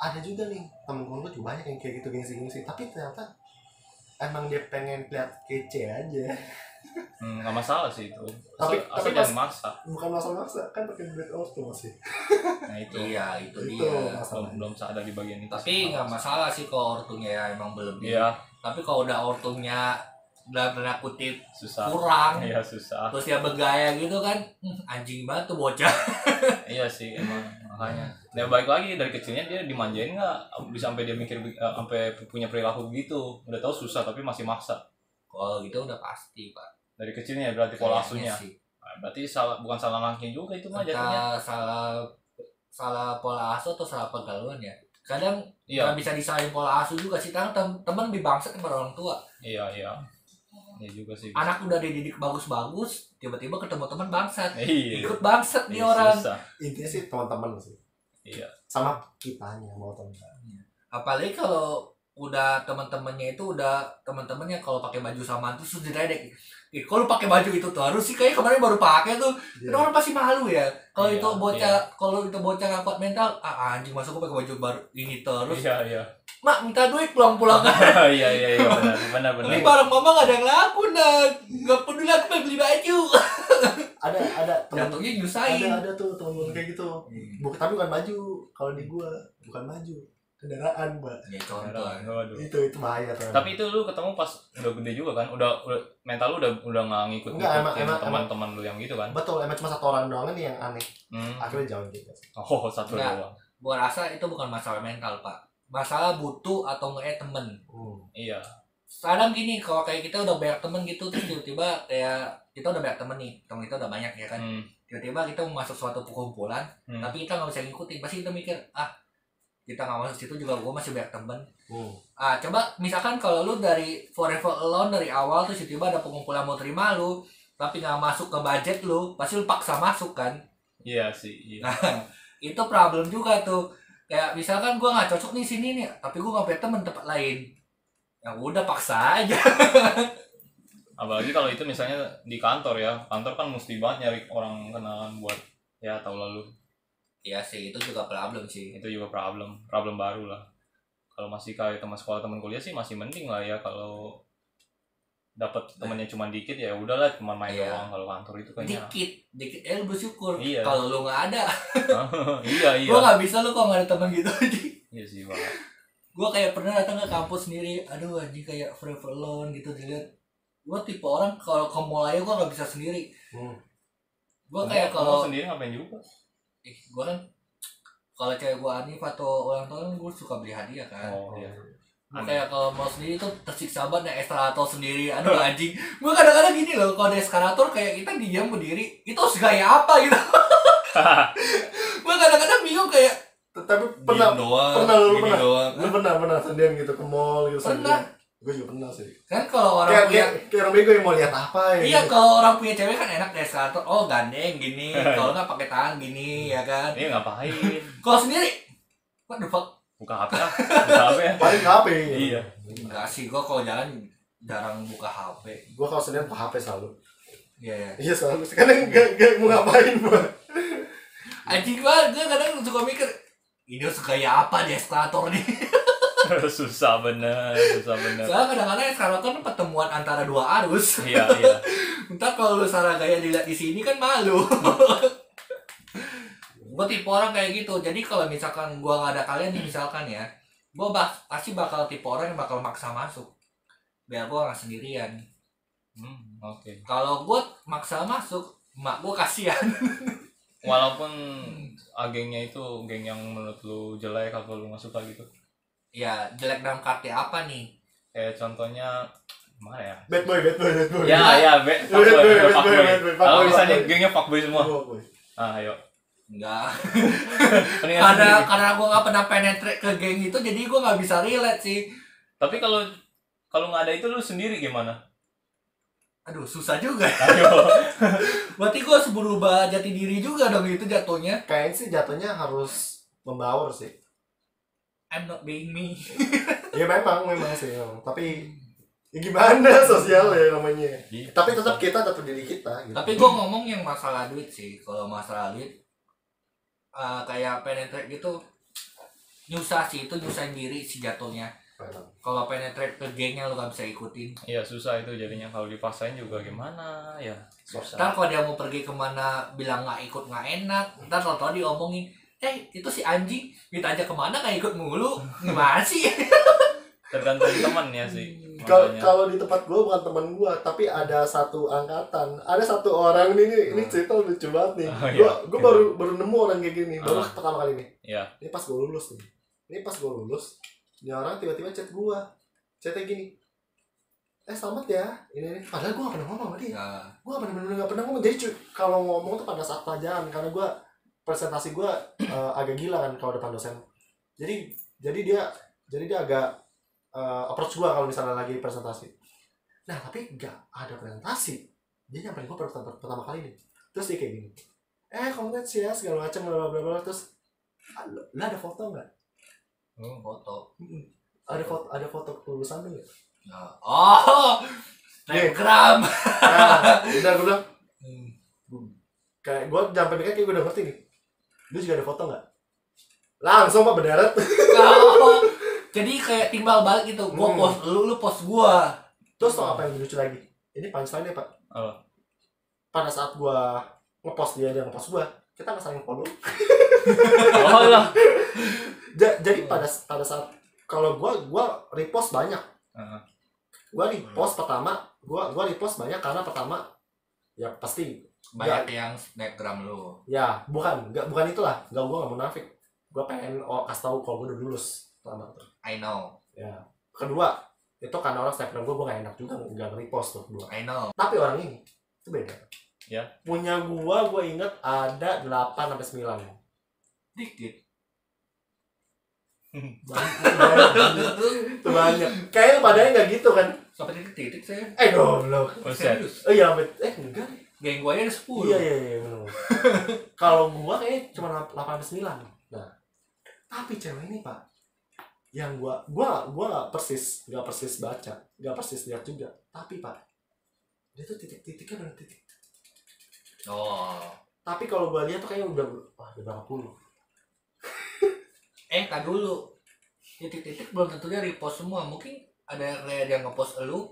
[SPEAKER 2] ada juga nih temen temen gue juga banyak yang kayak gitu gengsi gengsi tapi ternyata emang dia pengen lihat kece aja
[SPEAKER 1] Hmm, nggak masalah sih itu. Asal,
[SPEAKER 2] Tapi-
[SPEAKER 1] asal
[SPEAKER 2] tapi
[SPEAKER 1] jangan maksa.
[SPEAKER 2] bukan masalah maksa kan pakai duit orang tuh masih
[SPEAKER 1] Nah itu.
[SPEAKER 3] iya itu
[SPEAKER 2] itu
[SPEAKER 3] dia
[SPEAKER 1] Belum,
[SPEAKER 2] masalahnya
[SPEAKER 1] belum sadar di bagian itu.
[SPEAKER 3] tapi nggak masalah sih kalau ortunya ya emang berlebih
[SPEAKER 1] Iya,
[SPEAKER 3] tapi kalau udah ortunya dalam tanda kutip
[SPEAKER 1] susah.
[SPEAKER 3] kurang
[SPEAKER 1] Iya, susah.
[SPEAKER 3] terus dia bergaya gitu kan hmm, anjing banget tuh bocah
[SPEAKER 1] Iya sih emang makanya. Nah balik lagi dari kecilnya dia dimanjain nggak bisa sampai dia mikir eh, sampai punya perilaku begitu. Udah tahu susah tapi masih maksa.
[SPEAKER 3] kalau gitu udah pasti pak
[SPEAKER 1] Dari kecilnya ya berarti pola asuhnya.
[SPEAKER 3] Kayaknya sih.
[SPEAKER 1] Nah, Berarti salah bukan salah langkah juga itu mah jatuhnya.
[SPEAKER 3] entah salah salah pola asuh atau salah pergaulan ya kadang
[SPEAKER 1] Iya
[SPEAKER 3] nggak bisa disalahin pola asuh juga sih karena tem- temen lebih bangsat daripada orang tua
[SPEAKER 1] iya iya. Iya juga sih.
[SPEAKER 3] anak udah dididik bagus-bagus tiba-tiba ketemu teman bangsat
[SPEAKER 1] Iya.
[SPEAKER 3] Ah, ikut bangsat nih
[SPEAKER 1] Iya,
[SPEAKER 3] orang
[SPEAKER 1] Susah.
[SPEAKER 2] intinya sih teman-teman sih
[SPEAKER 1] Iya.
[SPEAKER 2] sama kitanya mau teman
[SPEAKER 3] apalagi kalau udah teman-temannya itu udah teman-temannya kalau pakai baju samaan terus diledek Ih, kok lu pakai baju itu terus sih kayaknya kemarin baru pakai tuh. Kan
[SPEAKER 2] Iya.
[SPEAKER 3] orang pasti malu ya. Kalau
[SPEAKER 1] Iya,
[SPEAKER 3] itu bocah, kalau itu bocah nggak kuat mental, ah anjing masa gua pakai baju baru ini terus.
[SPEAKER 1] Iya, iya.
[SPEAKER 3] Mak minta duit pulang-pulang
[SPEAKER 1] Iya, iya, iya, benar, benar, benar.
[SPEAKER 3] Ini barang mama gak ada yang laku nak Gak peduli aku pengen beli baju
[SPEAKER 2] ada ada temen
[SPEAKER 3] Jatuhnya
[SPEAKER 2] ada
[SPEAKER 3] nyusahin
[SPEAKER 2] ada tuh temen gue kayak gitu bukan tapi bukan baju kalau di gua bukan baju kendaraan mbak
[SPEAKER 3] Ya contoh
[SPEAKER 1] Waduh.
[SPEAKER 2] itu itu bahaya tuh
[SPEAKER 1] Tapi itu lu ketemu pas udah gede juga kan? Udah, udah mental lu udah udah nggak ngikut
[SPEAKER 2] Enggak, emang-
[SPEAKER 1] ngikutin
[SPEAKER 2] emang-
[SPEAKER 1] teman-teman lu yang gitu kan?
[SPEAKER 2] betul emang cuma satu orang doang nih yang aneh
[SPEAKER 1] Hmm.
[SPEAKER 2] akhirnya jauh gitu
[SPEAKER 1] Oh, satu
[SPEAKER 3] Enggak.
[SPEAKER 1] doang.
[SPEAKER 3] Gua rasa itu bukan masalah mental pak Masalah butuh atau enggaknya temen
[SPEAKER 2] hmm.
[SPEAKER 1] Iya.
[SPEAKER 3] Sekarang gini kalau kayak kita udah banyak temen gitu Terus tiba-tiba kayak kita udah banyak temen nih Temen kita udah banyak ya kan
[SPEAKER 1] Hmm.
[SPEAKER 3] Tiba-tiba kita mau masuk suatu kumpulan
[SPEAKER 1] Hmm.
[SPEAKER 3] Tapi kita gak bisa ngikutin Pasti kita mikir ah kita gak masuk situ juga gua masih banyak temen
[SPEAKER 2] Hmm.
[SPEAKER 3] Ah, coba misalkan kalau lu dari Forever Alone dari awal terus tiba-tiba ada pengumpulan mau terima lu, tapi nggak masuk ke budget lu, pasti lu paksa masuk kan?
[SPEAKER 1] Iya sih, iya.
[SPEAKER 3] Nah, itu problem juga tuh. Kayak misalkan gua nggak cocok nih sini nih, tapi gua nggak punya temen tempat lain. Ya udah paksa aja.
[SPEAKER 1] Apalagi kalau itu misalnya di kantor ya. Kantor kan mesti banget nyari orang kenalan buat ya tahu lalu
[SPEAKER 3] Iya sih, itu juga problem sih.
[SPEAKER 1] itu juga problem problem baru lah kalau masih kayak teman sekolah teman kuliah sih masih mending lah ya kalau dapat temennya cuma dikit ya udahlah cuma main
[SPEAKER 3] Iya.
[SPEAKER 1] doang kalau kantor itu kayaknya
[SPEAKER 3] Dikit, dikit. Eh lu bersyukur.
[SPEAKER 1] Iya.
[SPEAKER 3] Kalau lu nggak ada,
[SPEAKER 1] iya iya
[SPEAKER 3] gua nggak bisa lu kalau nggak ada temen gitu.
[SPEAKER 1] iya sih Pak.
[SPEAKER 3] gue kayak pernah datang ke kampus sendiri aduh anjing kayak forever alone gitu dilihat gue tipe orang kalau ke mall aja gue nggak bisa sendiri
[SPEAKER 2] Hmm.
[SPEAKER 3] gue kayak kalau
[SPEAKER 1] sendiri ngapain juga
[SPEAKER 3] ih gue kan kalau cewek gue Anif atau ulang tahun gue suka beli hadiah kan
[SPEAKER 1] oh iya
[SPEAKER 3] Gua
[SPEAKER 1] Aneh.
[SPEAKER 3] Nah, kayak kalau mall sendiri tuh tersiksa banget naik eskalator sendiri aduh anjing gue kadang-kadang gini loh kalau di eskalator kayak kita diam berdiri itu harus gaya apa gitu gue kadang-kadang bingung kayak
[SPEAKER 2] tapi pernah
[SPEAKER 3] doang
[SPEAKER 2] pernah, lu
[SPEAKER 3] gini
[SPEAKER 2] pernah.
[SPEAKER 3] doang
[SPEAKER 1] Iya.
[SPEAKER 2] lu pernah pernah sendirian gitu ke mall gitu
[SPEAKER 3] Pernah.
[SPEAKER 2] gue juga pernah sih
[SPEAKER 3] kan kalau orang
[SPEAKER 2] kayak
[SPEAKER 3] punya
[SPEAKER 2] kayak kayak orang bego yang mau lihat apa ya
[SPEAKER 3] Iya
[SPEAKER 2] gitu.
[SPEAKER 3] kalau orang punya cewek kan enak deh satu oh gandeng gini kalau nggak pakai tangan gini ya kan
[SPEAKER 1] ini Hmm. Iya, ngapain
[SPEAKER 3] kalau sendiri what the fuck
[SPEAKER 1] buka hp lah buka hp ya
[SPEAKER 2] paling HP
[SPEAKER 1] Iya.
[SPEAKER 3] enggak sih gua kalau jalan jarang buka HP
[SPEAKER 2] gue kalau sendirian ke HP selalu
[SPEAKER 3] Iya ya
[SPEAKER 2] iya selalu sekarang gak, gak mau ngapain gue
[SPEAKER 3] anjing gua gua kadang suka mikir ini harus gaya apa di eskalator nih
[SPEAKER 1] susah bener susah bener
[SPEAKER 3] soalnya kadang-kadang eskalator kan pertemuan antara dua arus
[SPEAKER 1] iya iya
[SPEAKER 3] Ntar kalau lu salah gaya dilihat di sini kan malu. gue tipe orang kayak gitu. Jadi kalau misalkan gua nggak ada kalian nih misalkan ya, gua bak- pasti bakal tipe orang yang bakal maksa masuk. Biar gua nggak sendirian.
[SPEAKER 1] Hmm, oke
[SPEAKER 3] Kalau gua maksa masuk, mak gua kasihan.
[SPEAKER 1] walaupun agengnya itu geng yang menurut lu jelek atau lu nggak suka gitu
[SPEAKER 3] ya jelek dalam kata apa nih?
[SPEAKER 1] kayak contohnya mana ya
[SPEAKER 2] bad boy bad boy bad boy
[SPEAKER 1] Ya, ya, be,
[SPEAKER 2] Wait,
[SPEAKER 1] fuckboy,
[SPEAKER 2] wait, wait,
[SPEAKER 1] fuckboy.
[SPEAKER 2] wait, wait, wait,
[SPEAKER 1] Kalau
[SPEAKER 2] fuckboy,
[SPEAKER 1] misalnya
[SPEAKER 2] fuckboy.
[SPEAKER 1] gengnya fuckboy semua.
[SPEAKER 2] Bad boy.
[SPEAKER 1] Ah, ayo.
[SPEAKER 3] Enggak.
[SPEAKER 1] Mendingan
[SPEAKER 3] Karena
[SPEAKER 1] sendiri.
[SPEAKER 3] karena gua nggak pernah penetrate ke geng itu, jadi gua nggak bisa relate sih.
[SPEAKER 1] Tapi kalau kalau nggak ada itu lu sendiri gimana?
[SPEAKER 3] Aduh susah juga.
[SPEAKER 1] Ayo.
[SPEAKER 3] Berarti gua harus berubah jati diri juga dong itu jatuhnya.
[SPEAKER 2] kayaknya sih jatuhnya harus membaur sih
[SPEAKER 3] I'm not being me.
[SPEAKER 2] ya memang memang sih memang. tapi ya gimana sosial ya namanya tapi tetap kita tetap diri kita gitu.
[SPEAKER 3] Tapi gue ngomong yang masalah duit sih. Kalau masalah duit, eh, kayak penetrate gitu, nyusah sih itu nyusahin diri si jatuhnya. Kalau penetrate ke gengnya lo gak bisa ikutin.
[SPEAKER 1] Iya, susah itu jadinya kalau dipaksain juga gimana ya. Susah.
[SPEAKER 3] Ntar kalau dia mau pergi kemana bilang nggak ikut nggak enak, ntar tau-tau diomongin, eh itu si anjing minta aja kemana nggak ikut mulu, gimana sih?
[SPEAKER 1] Tergantung teman ya sih.
[SPEAKER 2] Kalau
[SPEAKER 1] Makanya.
[SPEAKER 2] kalau di tempat gua bukan teman gua, tapi ada satu angkatan, ada satu orang nih, nih ini
[SPEAKER 3] Hmm.
[SPEAKER 2] cerita lucu banget nih.
[SPEAKER 1] Oh, iya.
[SPEAKER 2] Gua gua baru baru nemu orang kayak gini, baru
[SPEAKER 1] Ah.
[SPEAKER 2] pertama kali nih.
[SPEAKER 1] Iya.
[SPEAKER 2] Ini pas gua lulus nih. Ini pas gua lulus, ini orang tiba-tiba chat gua. Chatnya gini. Eh selamat ya. Ini, ini. padahal gua gak pernah ngomong sama dia.
[SPEAKER 3] Ya,
[SPEAKER 2] Gua bener-bener gak pernah ngomong. Jadi cu- kalau ngomong tuh pada saat pelajaran karena gua presentasi gua eh, agak gila kan kalau depan dosen. Jadi jadi dia jadi dia agak eh, approach gua kalau misalnya lagi presentasi nah tapi nggak ada presentasi dia nyamperin gua per- per- pertama kali nih terus dia kayak gini eh congrats ya segala macam bla bla bla bla terus "Ah, lu lu ada foto nggak
[SPEAKER 1] Oh.
[SPEAKER 3] foto.
[SPEAKER 2] "Mm-mm." ada foto ada foto kelulusan lu nggak
[SPEAKER 3] Ya. Oh, Telegram.
[SPEAKER 2] Nah, udah gue bilang kayak gue sampai mikir kayak gue udah ngerti nih. Lu juga ada foto nggak? Langsung pak berderet.
[SPEAKER 3] Kalau- Jadi kayak timbal balik gitu. Gua
[SPEAKER 2] Hmm.
[SPEAKER 3] post lu, lu post gua.
[SPEAKER 2] Terus tau apa yang lucu lagi? Ini punchline nya pak.
[SPEAKER 1] Apa?
[SPEAKER 2] Pada saat gue ngepost dia dia ngepost gue, kita nggak saling follow.
[SPEAKER 1] Oh lah. Iya.
[SPEAKER 2] Ja- jadi pada pada saat kalau gue gue repost banyak.
[SPEAKER 1] Heeh.
[SPEAKER 2] Gue repost pertama, gue gua repost banyak karena pertama ya pasti
[SPEAKER 3] Banyak yang snapgram lu.
[SPEAKER 2] ya bukan nggak bukan itulah nggak gue nggak munafik gue pengen oh, kasih tahu kalau gue udah lulus pertama tuh
[SPEAKER 3] I know.
[SPEAKER 2] kedua itu karena orang snapgram gue gue gak enak juga nggak nge-repost tuh kedua
[SPEAKER 3] I know.
[SPEAKER 2] tapi orang ini itu beda
[SPEAKER 1] Ya.
[SPEAKER 2] punya gue gue inget ada 8 sampai sembilan
[SPEAKER 3] Dikit.
[SPEAKER 2] banyak itu banyak kayaknya padanya nggak gitu kan
[SPEAKER 3] Sampai titik-titik saya.
[SPEAKER 2] eh goblok
[SPEAKER 1] Buset.
[SPEAKER 3] Serius.
[SPEAKER 2] oh iya bet- eh enggak deh.
[SPEAKER 3] Geng gua aja ada 10.
[SPEAKER 2] iya iya iya bener. kalau gue kayaknya cuma 8 sampai sembilan nah tapi cewek ini pak yang gua gua gua nggak persis nggak persis baca nggak persis lihat juga tapi pak dia tuh titik-titiknya bener titik
[SPEAKER 3] Oh.
[SPEAKER 2] tapi kalau gua lihat tuh kayaknya udah wah udah berapa puluh
[SPEAKER 3] Eh, tak dulu. Titik-titik belum tentunya repost semua. Mungkin ada kayak dia ngepost lu,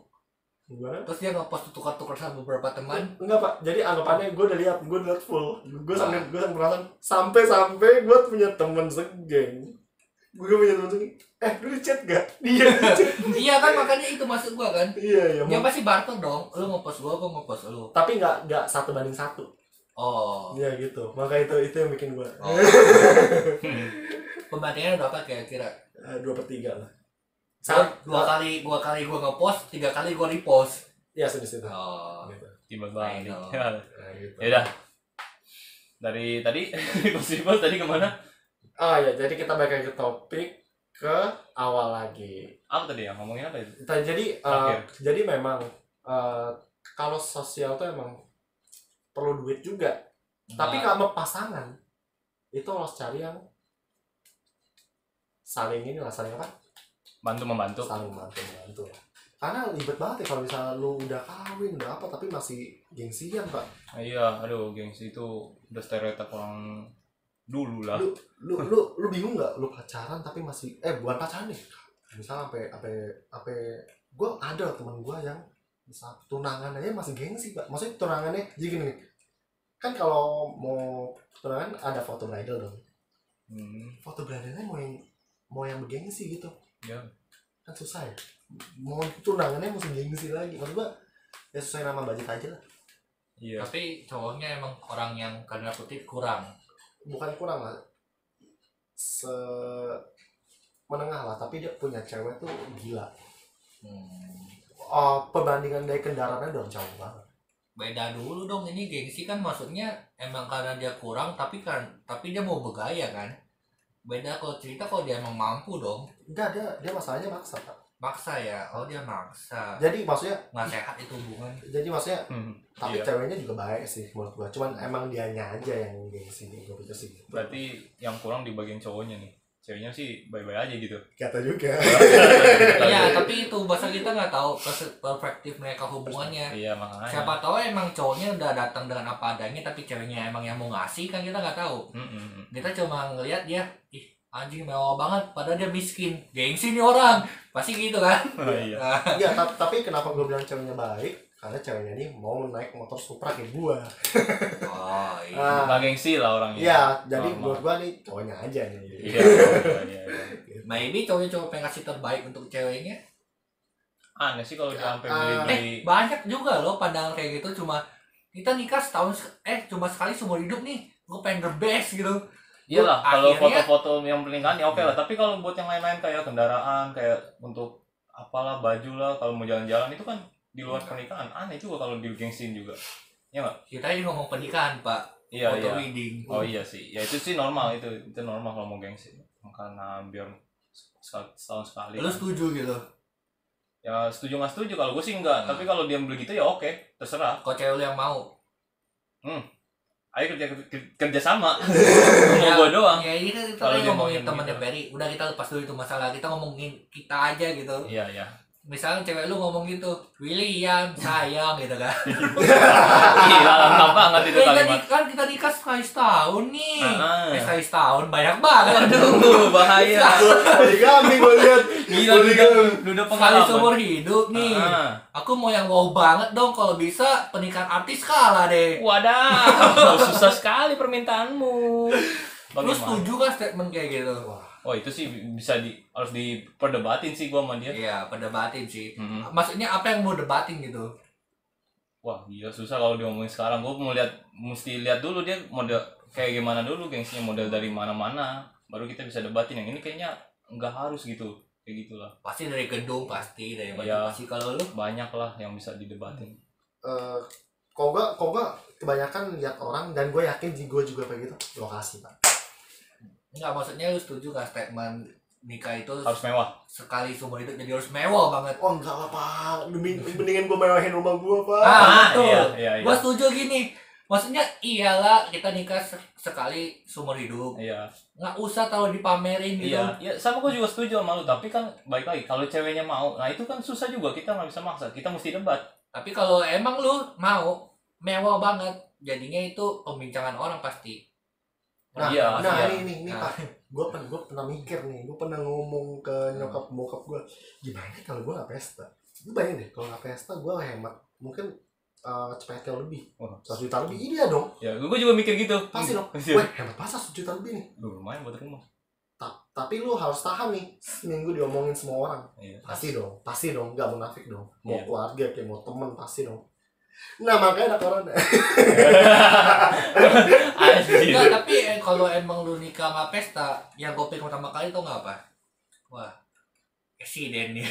[SPEAKER 2] gimana
[SPEAKER 3] terus dia ngepost tukar-tukar sama beberapa teman.
[SPEAKER 2] enggak pak jadi anggapannya gua udah lihat gua udah lihat full gua sampai gua sampai perasaan sampai sampai gua punya temen segeng gua punya temen segeng eh lu di chat gak dia di chat
[SPEAKER 3] iya kan makanya itu maksud gua kan.
[SPEAKER 2] iya iya
[SPEAKER 3] Yang pasti barter dong. Lu ngepost gua, gua ngepost lu.
[SPEAKER 2] tapi nggak nggak satu banding satu
[SPEAKER 3] Oh.
[SPEAKER 2] Iya gitu, maka itu itu yang bikin gua
[SPEAKER 3] Oh. Pembandingannya berapa kira-kira?
[SPEAKER 2] eh, dua per tiga lah.
[SPEAKER 3] Dua,
[SPEAKER 2] Saat
[SPEAKER 3] dua kali dua kali gua ngepost, tiga kali gua repost.
[SPEAKER 2] ya sedih sedih.
[SPEAKER 3] Oh.
[SPEAKER 2] Gitu.
[SPEAKER 1] Tiba
[SPEAKER 3] I
[SPEAKER 1] balik.
[SPEAKER 3] know.
[SPEAKER 2] Nah, gitu.
[SPEAKER 1] Ya udah. Dari tadi Bos tadi kemana?
[SPEAKER 2] Oh ya, jadi kita balik lagi ke topik ke awal lagi.
[SPEAKER 1] Apa tadi ya? Ngomongin apa itu?
[SPEAKER 2] Nah, jadi eh,
[SPEAKER 1] Oke.
[SPEAKER 2] jadi memang eh, kalau sosial tuh emang perlu duit juga. Tapi
[SPEAKER 3] Nah,
[SPEAKER 2] kalau sama pasangan itu harus cari yang saling ini lah saling apa?
[SPEAKER 1] Bantu membantu.
[SPEAKER 2] saling bantu bantu karena ribet banget ya kalau misalnya lu udah kawin udah apa tapi masih gengsian pak
[SPEAKER 1] Iya, aduh gengsi itu udah stereotip orang dulu lah.
[SPEAKER 2] lu lu lu bingung nggak lu pacaran tapi masih eh bukan pacaran nih misalnya sampai sampai sampai gue ada teman gue yang misal tunangan aja masih gengsi pak maksudnya tunangannya jadi gini nih. kan kalau mau tunangan ada foto bridal dong
[SPEAKER 1] Hmm.
[SPEAKER 2] foto bridalnya mau yang mau yang bergengsi gitu
[SPEAKER 1] Ya.
[SPEAKER 2] kan susah ya mau tunangannya mesti gengsi lagi maksud gue ya sesuai nama budget aja lah
[SPEAKER 1] Iya.
[SPEAKER 3] tapi cowoknya emang orang yang karena kutip kurang.
[SPEAKER 2] bukan kurang lah se menengah lah tapi dia punya cewek tuh gila
[SPEAKER 3] Hmm.
[SPEAKER 2] oh, perbandingan dari kendaraannya udah jauh banget
[SPEAKER 3] beda dulu dong ini gengsi kan maksudnya emang karena dia kurang tapi kan tapi dia mau bergaya kan beda kalau cerita kalau dia emang mampu dong
[SPEAKER 2] enggak dia dia masalahnya maksa Pak.
[SPEAKER 3] maksa ya oh dia maksa
[SPEAKER 2] jadi maksudnya
[SPEAKER 3] nggak sehat itu hubungan
[SPEAKER 2] jadi maksudnya
[SPEAKER 1] Hmm.
[SPEAKER 2] tapi
[SPEAKER 1] Iya.
[SPEAKER 2] ceweknya juga baik sih menurut gua cuman emang dianya aja yang gengsi gue pikir sih gitu.
[SPEAKER 1] Berarti yang kurang di bagian cowoknya nih. Ceweknya sih bye-bye aja gitu.
[SPEAKER 2] kata juga
[SPEAKER 3] iya tapi itu bahasa kita nggak tahu pers- perspektif mereka hubungannya
[SPEAKER 1] Iya, makanya.
[SPEAKER 3] siapa tahu emang cowoknya udah datang dengan apa adanya tapi ceweknya emang yang mau ngasih kan kita nggak tahu
[SPEAKER 1] Mm-mm.
[SPEAKER 3] kita cuma ngelihat dia ih anjing mewah banget padahal dia miskin gengsi nih orang pasti gitu kan
[SPEAKER 1] Oh, iya.
[SPEAKER 3] Nah,
[SPEAKER 2] iya ta- tapi kenapa gua bilang ceweknya baik karena ceweknya ini mau naik motor supra kayak gua
[SPEAKER 3] oh iya
[SPEAKER 2] ah
[SPEAKER 1] Nggak gengsi lah orangnya.
[SPEAKER 2] iya jadi
[SPEAKER 1] Sama.
[SPEAKER 2] menurut gua nih cowoknya aja nih
[SPEAKER 1] Iya. iya, iya, iya.
[SPEAKER 3] Maybe cowoknya cuma pengen kasih terbaik untuk ceweknya.
[SPEAKER 1] Aneh sih kalau dia sampai
[SPEAKER 2] Ah,
[SPEAKER 1] beli-beli.
[SPEAKER 3] Eh, banyak juga loh pandangan kayak gitu cuma kita nikah setahun se- eh cuma sekali seumur hidup nih. Gue pengen the best gitu.
[SPEAKER 1] Iya lah, kalau
[SPEAKER 3] akhirnya-
[SPEAKER 1] foto-foto yang pernikahan ya oke lah. Tapi kalau buat yang lain-lain kayak kendaraan, kayak untuk apalah baju lah, kalau mau jalan-jalan itu kan di luar pernikahan aneh juga kalau digengsin juga.
[SPEAKER 3] Kita ini ngomong pernikahan, Pak.
[SPEAKER 1] Iya
[SPEAKER 3] Foto
[SPEAKER 1] iya.
[SPEAKER 3] wedding.
[SPEAKER 1] Oh iya sih, ya itu sih normal itu itu normal kalau mau gengsi. Karena biar sekal- setahun sekali.
[SPEAKER 3] Lu setuju gitu.
[SPEAKER 1] Ya setuju nggak setuju kalau gue sih enggak.
[SPEAKER 3] Hmm.
[SPEAKER 1] Tapi kalau dia beli gitu ya oke, terserah.
[SPEAKER 3] Kok cewek lu yang mau?
[SPEAKER 1] Ayo kerja kerja- kerja sama. mau gue doang.
[SPEAKER 3] Ya ini kan kita
[SPEAKER 1] Kalau
[SPEAKER 3] lagi
[SPEAKER 1] dia
[SPEAKER 3] ngomongin
[SPEAKER 1] ngomongin
[SPEAKER 3] temannya
[SPEAKER 1] gitu.
[SPEAKER 3] Barry. Udah kita lepas dulu itu masalah. Kita ngomongin kita aja gitu.
[SPEAKER 1] Iya iya.
[SPEAKER 3] misalnya cewek lu ngomong gitu William sayang gitu kan
[SPEAKER 1] Gila, iya, lengkap banget itu
[SPEAKER 3] Eh, kita
[SPEAKER 1] kalimat.
[SPEAKER 3] nik- kan kita nikah sekali setahun nih
[SPEAKER 1] Ah.
[SPEAKER 3] eh, sekali setahun banyak banget
[SPEAKER 1] Aduh, bahaya.
[SPEAKER 2] poligami gue lihat
[SPEAKER 1] Gila, lu udah, lu udah
[SPEAKER 3] sekali
[SPEAKER 1] pengalaman.
[SPEAKER 3] seumur hidup nih
[SPEAKER 1] Ah.
[SPEAKER 3] aku mau yang wow banget dong kalau bisa pernikahan artis kalah deh
[SPEAKER 1] Wadah, susah sekali permintaanmu.
[SPEAKER 3] lu
[SPEAKER 1] Bagaimana?
[SPEAKER 3] setuju kan statement kayak gitu
[SPEAKER 1] Oh itu sih bisa di harus diperdebatin sih gua sama dia.
[SPEAKER 3] iya perdebatin sih
[SPEAKER 1] Mm-mm.
[SPEAKER 3] maksudnya apa yang mau debatin gitu
[SPEAKER 1] "Ah, Wah gila susah kalau diomongin sekarang. Gue mau lihat mesti lihat dulu dia model kayak gimana dulu gengsinya model dari mana-mana. Baru kita bisa debatin yang ini kayaknya nggak harus gitu kayak gitulah.
[SPEAKER 3] pasti dari gedung pasti dari baju
[SPEAKER 1] Iya.
[SPEAKER 3] pasti kalau lu
[SPEAKER 1] Banyak lah yang bisa didebatin.
[SPEAKER 2] Eh, kalau gue kalau gue kebanyakan lihat orang dan gue yakin gue juga kayak gitu lokasi pak
[SPEAKER 3] Enggak, maksudnya lu setuju gak statement nikah itu
[SPEAKER 1] Harus mewah.
[SPEAKER 3] sekali seumur hidup jadi harus mewah banget.
[SPEAKER 2] oh enggak lah pak Demi- mendingan gue merewahin rumah gue pak
[SPEAKER 3] Ah, betul.
[SPEAKER 1] iya iya iya.
[SPEAKER 3] Gua setuju gini. Maksudnya iyalah kita nikah se- sekali seumur hidup.
[SPEAKER 1] Iya.
[SPEAKER 3] Nggak usah terlalu dipamerin gitu.
[SPEAKER 1] Iya, ya, sama gue juga setuju sama lu, tapi kan baik lagi kalau ceweknya mau, nah itu kan susah juga kita nggak bisa maksa, kita mesti debat.
[SPEAKER 3] Tapi kalau emang lu mau mewah banget, jadinya itu pembincangan orang pasti.
[SPEAKER 2] Nah,
[SPEAKER 1] iya,
[SPEAKER 2] nah
[SPEAKER 1] iya.
[SPEAKER 2] ini ini ini
[SPEAKER 3] Nah.
[SPEAKER 2] pak gue pernah gue pernah mikir nih gue pernah ngomong ke nyokap bokap gue gimana kalau gue nggak pesta lu bayangin deh kalau nggak pesta gue hemat mungkin eh CPT lebih
[SPEAKER 1] Wah.
[SPEAKER 2] satu juta lebih iya dong
[SPEAKER 1] Ya, gue juga mikir gitu.
[SPEAKER 2] pasti dong
[SPEAKER 1] Pasti.
[SPEAKER 2] wah hemat pasar satu juta lebih nih
[SPEAKER 1] Duh, lumayan buat rumah.
[SPEAKER 2] Ta- tapi lu harus tahan nih seminggu diomongin semua orang
[SPEAKER 1] Iya.
[SPEAKER 2] pasti dong pasti dong nggak munafik dong mau
[SPEAKER 1] Iya.
[SPEAKER 2] keluarga kayak mau temen pasti dong nah makanya ada corona
[SPEAKER 1] Anjir.
[SPEAKER 3] Enggak, tapi eh, kalau emang lu nikah sama pesta, yang gue pikir pertama kali tuh nggak apa? Wah, presiden nih.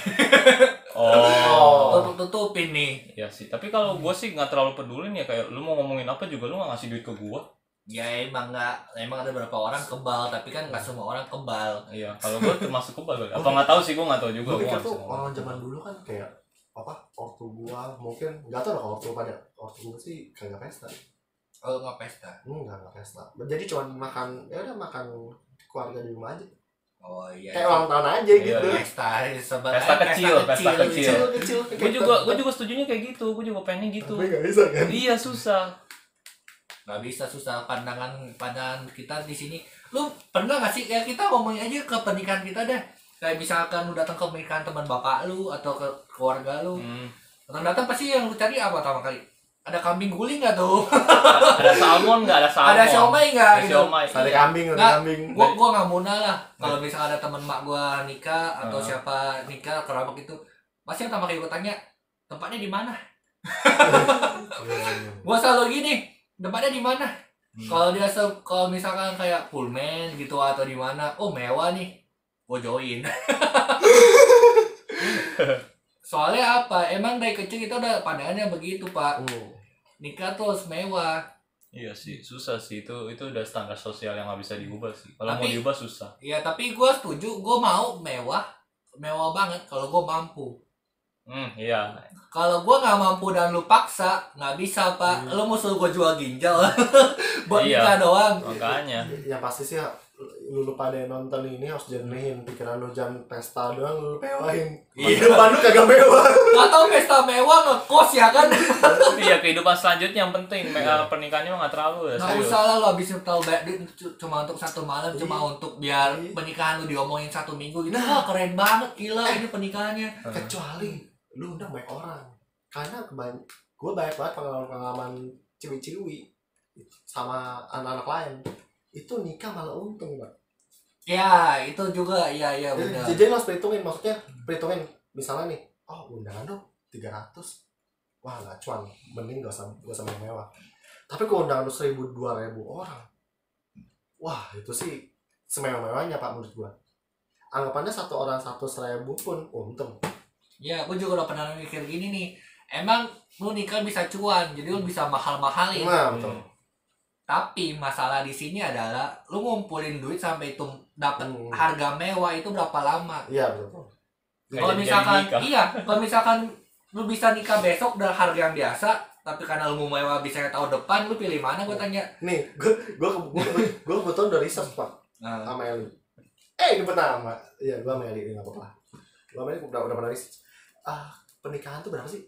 [SPEAKER 1] Oh.
[SPEAKER 3] Tutup-tutupin nih.
[SPEAKER 1] Ya sih, tapi kalau gue sih nggak terlalu peduli nih ya kayak lu mau ngomongin apa juga lu nggak ngasih duit ke gue.
[SPEAKER 3] Ya emang nggak, emang ada beberapa orang kebal, tapi kan nggak semua orang kebal.
[SPEAKER 1] Iya, kalau gue termasuk kebal. kali. Apa nggak tahu sih gue nggak tahu juga.
[SPEAKER 2] gue
[SPEAKER 1] gua
[SPEAKER 2] pikir
[SPEAKER 1] nggak
[SPEAKER 2] tuh
[SPEAKER 1] bisa ngomong.
[SPEAKER 2] orang zaman dulu kan kayak apa ortu gua mungkin nggak tau deh kalau ortu pada ortu gua sih kagak pesta
[SPEAKER 3] Kalau nggak pesta.
[SPEAKER 2] enggak nggak pesta jadi cuman makan ya udah makan keluarga di rumah aja
[SPEAKER 3] Oh iya.
[SPEAKER 2] kayak ulang tahun aja
[SPEAKER 1] Iya,
[SPEAKER 2] gitu
[SPEAKER 1] iya.
[SPEAKER 3] Pesta, sebat-
[SPEAKER 1] Pesta kecil, pesta kecil.
[SPEAKER 2] kecil kecil
[SPEAKER 1] Gue juga, gue juga setujunya kayak gitu. Gue juga pengen gitu.
[SPEAKER 2] tapi nggak bisa kan
[SPEAKER 1] Iya susah.
[SPEAKER 3] Nggak bisa susah pandangan pandangan kita di sini. Lu pernah nggak sih ya kita ngomongin aja ke pernikahan kita deh. Kayak misalkan lu datang ke pernikahan teman bapak lu atau ke keluarga lu.
[SPEAKER 1] Hmm.
[SPEAKER 3] Datang-datang pasti yang lu cari apa pertama kali? Ada kambing guling nggak tuh?
[SPEAKER 1] Ada salmon nggak? Ada salmon.
[SPEAKER 3] Ada siomay nggak?
[SPEAKER 1] Ada
[SPEAKER 3] Gitu.
[SPEAKER 1] siomay. Iya.
[SPEAKER 2] sate kambing sate
[SPEAKER 3] Nah,
[SPEAKER 2] kambing
[SPEAKER 3] Gua gua nggak munah lah. Kalau misalnya ada teman mak gua nikah atau
[SPEAKER 1] Ah.
[SPEAKER 3] siapa nikah kerabat gitu, pasti yang pertama kali gua tanya tempatnya di mana?
[SPEAKER 2] Iya,
[SPEAKER 3] Gua selalu gini, tempatnya di mana?
[SPEAKER 1] Hmm.
[SPEAKER 3] Kalau dia se- kalau misalkan kayak Pullman gitu atau di mana, oh mewah nih. Gua join. Soalnya apa? Emang dari kecil kita udah pandangannya begitu, Pak.
[SPEAKER 2] Hmm.
[SPEAKER 3] Nikah tuh harus mewah.
[SPEAKER 1] Iya sih, susah sih itu itu udah standar sosial yang nggak bisa diubah sih. Kalau mau
[SPEAKER 3] Tapi-
[SPEAKER 1] diubah susah.
[SPEAKER 3] Ya, tapi gua setuju, gua mau mewah. Mewah banget kalau gua mampu.
[SPEAKER 1] Hmm, iya.
[SPEAKER 3] Kalau gua nggak mampu dan lu paksa, nggak bisa pak.
[SPEAKER 2] Hmm.
[SPEAKER 3] Lu mau suruh gua jual ginjal buat
[SPEAKER 1] Iya.
[SPEAKER 3] nikah doang.
[SPEAKER 1] Makanya.
[SPEAKER 2] yang Ya, pasti sih lu lu pada yang nonton ini harus jernihin pikiran lu jangan pesta doang lu pewahin
[SPEAKER 3] Iya.
[SPEAKER 2] depan lu kagak mewah
[SPEAKER 3] Atau pesta mewah ngekos ya kan?
[SPEAKER 1] Iya kehidupan selanjutnya yang penting. Mereka pernikahannya mah nggak terlalu ya.
[SPEAKER 3] Nggak
[SPEAKER 1] serius.
[SPEAKER 3] usah lah lu habisin terlalu banyak duit c- cuma untuk satu malam, cuma
[SPEAKER 2] Iya.
[SPEAKER 3] untuk biar
[SPEAKER 2] Iya.
[SPEAKER 3] pernikahan lu diomongin satu minggu
[SPEAKER 1] Nah.
[SPEAKER 3] gitu. Wah keren banget, gila
[SPEAKER 1] Eh.
[SPEAKER 3] ini pernikahannya.
[SPEAKER 2] kecuali lu undang banyak orang karena kebanyak gue banyak banget pengalaman pengalaman ciwi-ciwi sama anak-anak lain itu nikah malah untung pak
[SPEAKER 3] Ya itu juga, ya
[SPEAKER 1] Eh,
[SPEAKER 3] ya
[SPEAKER 2] jadi,
[SPEAKER 3] benar.
[SPEAKER 2] jadi lo harus perhitungin maksudnya perhitungin misalnya nih oh undangan dong 300 wah nggak cuan mending gak usah gak usah main mewah tapi kalau undangan lu 1000 2000 orang wah itu sih semewah-mewahnya pak menurut gue anggapannya satu orang satu seribu pun untung
[SPEAKER 3] Ya aku juga udah pernah mikir gini nih. Emang lu nikah bisa cuan, jadi lu bisa mahal-mahalin.
[SPEAKER 2] nah betul
[SPEAKER 1] Hmm.
[SPEAKER 3] Tapi masalah di sini adalah lu ngumpulin duit sampai itu dapat
[SPEAKER 2] Hmm.
[SPEAKER 3] harga mewah itu berapa lama?
[SPEAKER 2] iya betul
[SPEAKER 1] Kayak
[SPEAKER 3] Kalau
[SPEAKER 1] jadi
[SPEAKER 3] misalkan
[SPEAKER 1] nikah.
[SPEAKER 3] iya, kalau misalkan lu bisa nikah besok dengan harga yang biasa, tapi karena lu mau mewah bisa tahun depan, lu pilih mana? Gue tanya.
[SPEAKER 2] nih gue gue gue gue kebetulan udah riset pak
[SPEAKER 3] Nah,
[SPEAKER 2] sama Eli eh ini pertama iya gue sama Eli ini nggak apa-apa gue sama Eli udah udah pernah riset ah pernikahan tuh berapa sih?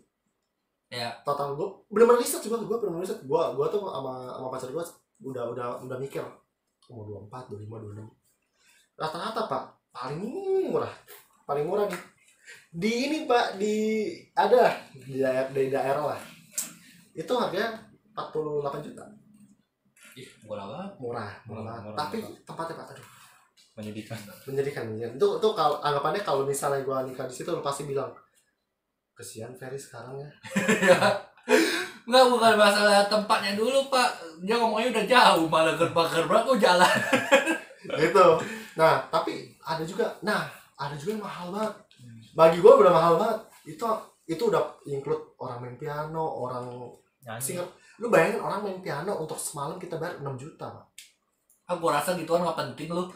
[SPEAKER 3] Ya.
[SPEAKER 2] Total gue bener-bener riset juga gue bener-bener riset gue gue tuh sama sama pacar gue udah udah udah mikir umur dua empat dua lima dua enam rata-rata pak paling murah paling murah nih di ini pak di ada di daerah, di daerah lah itu harganya 48 juta
[SPEAKER 3] Ih, murah banget.
[SPEAKER 2] murah
[SPEAKER 1] Murah,
[SPEAKER 2] murah banget
[SPEAKER 1] Hmm, murah,
[SPEAKER 2] tapi
[SPEAKER 1] murah.
[SPEAKER 2] tempatnya pak aduh
[SPEAKER 1] menyedihkan
[SPEAKER 2] menyedihkan menyedihkan. itu itu kalau anggapannya kalau misalnya gua nikah di situ lu pasti bilang kesian Ferry sekarang ya
[SPEAKER 3] Enggak, bukan masalah tempatnya dulu, Pak. Dia ngomongnya udah jauh, malah gerbang-gerbang kok jalan.
[SPEAKER 2] gitu nah tapi ada juga nah ada juga yang mahal banget bagi gua udah mahal banget itu itu udah include orang main piano orang
[SPEAKER 1] nyanyi
[SPEAKER 2] singer lu bayangin orang main piano untuk semalam kita bayar 6 juta pak
[SPEAKER 3] Aku Ah, rasa gituan nggak penting lu.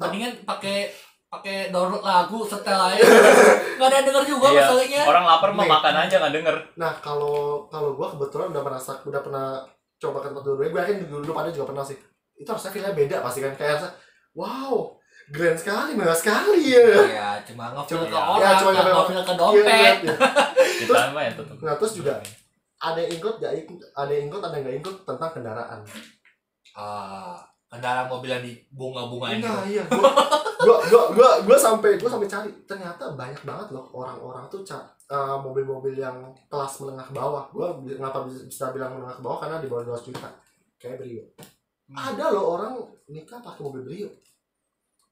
[SPEAKER 3] Mendingan pakai pakai download lagu setel aja. Enggak ada yang denger juga
[SPEAKER 1] Iya.
[SPEAKER 3] masalahnya.
[SPEAKER 1] orang lapar mah
[SPEAKER 2] Nih.
[SPEAKER 1] makan aja nggak denger
[SPEAKER 2] Nah, kalau kalau gua kebetulan udah merasa udah pernah coba ke tempat dua-duanya. Gua yakin dulu, dulu pada juga pernah sih. Itu harusnya feelnya beda pasti kan. Kayak rasa, wow, grand sekali, mewah sekali ya.
[SPEAKER 3] Iya, cuma ngefil
[SPEAKER 1] Cuma-
[SPEAKER 3] ke
[SPEAKER 1] ya,
[SPEAKER 3] orang,
[SPEAKER 2] cuma
[SPEAKER 3] nggak
[SPEAKER 2] ngefeel-
[SPEAKER 3] ngefil ke
[SPEAKER 2] Iya, iya,
[SPEAKER 3] dompet.
[SPEAKER 2] iya.
[SPEAKER 1] kita mah ya tutup
[SPEAKER 2] Nah, terus juga ada yang ikut, gak ikut, ada yang ikut, ada yang gak ikut tentang kendaraan.
[SPEAKER 3] Ah, kendaraan mobil yang dibunga-bungain
[SPEAKER 2] Nah,
[SPEAKER 3] itu.
[SPEAKER 2] iya. Gua, gua, gua, gua, gua sampai gua sampai cari. Ternyata banyak banget loh orang-orang tuh ca- eh, mobil-mobil yang kelas menengah bawah. Gua bi- kenapa bisa, bisa bilang menengah bawah karena di bawah 200 juta. Kayak brio.
[SPEAKER 3] Hmm.
[SPEAKER 2] ada loh orang nikah pakai mobil brio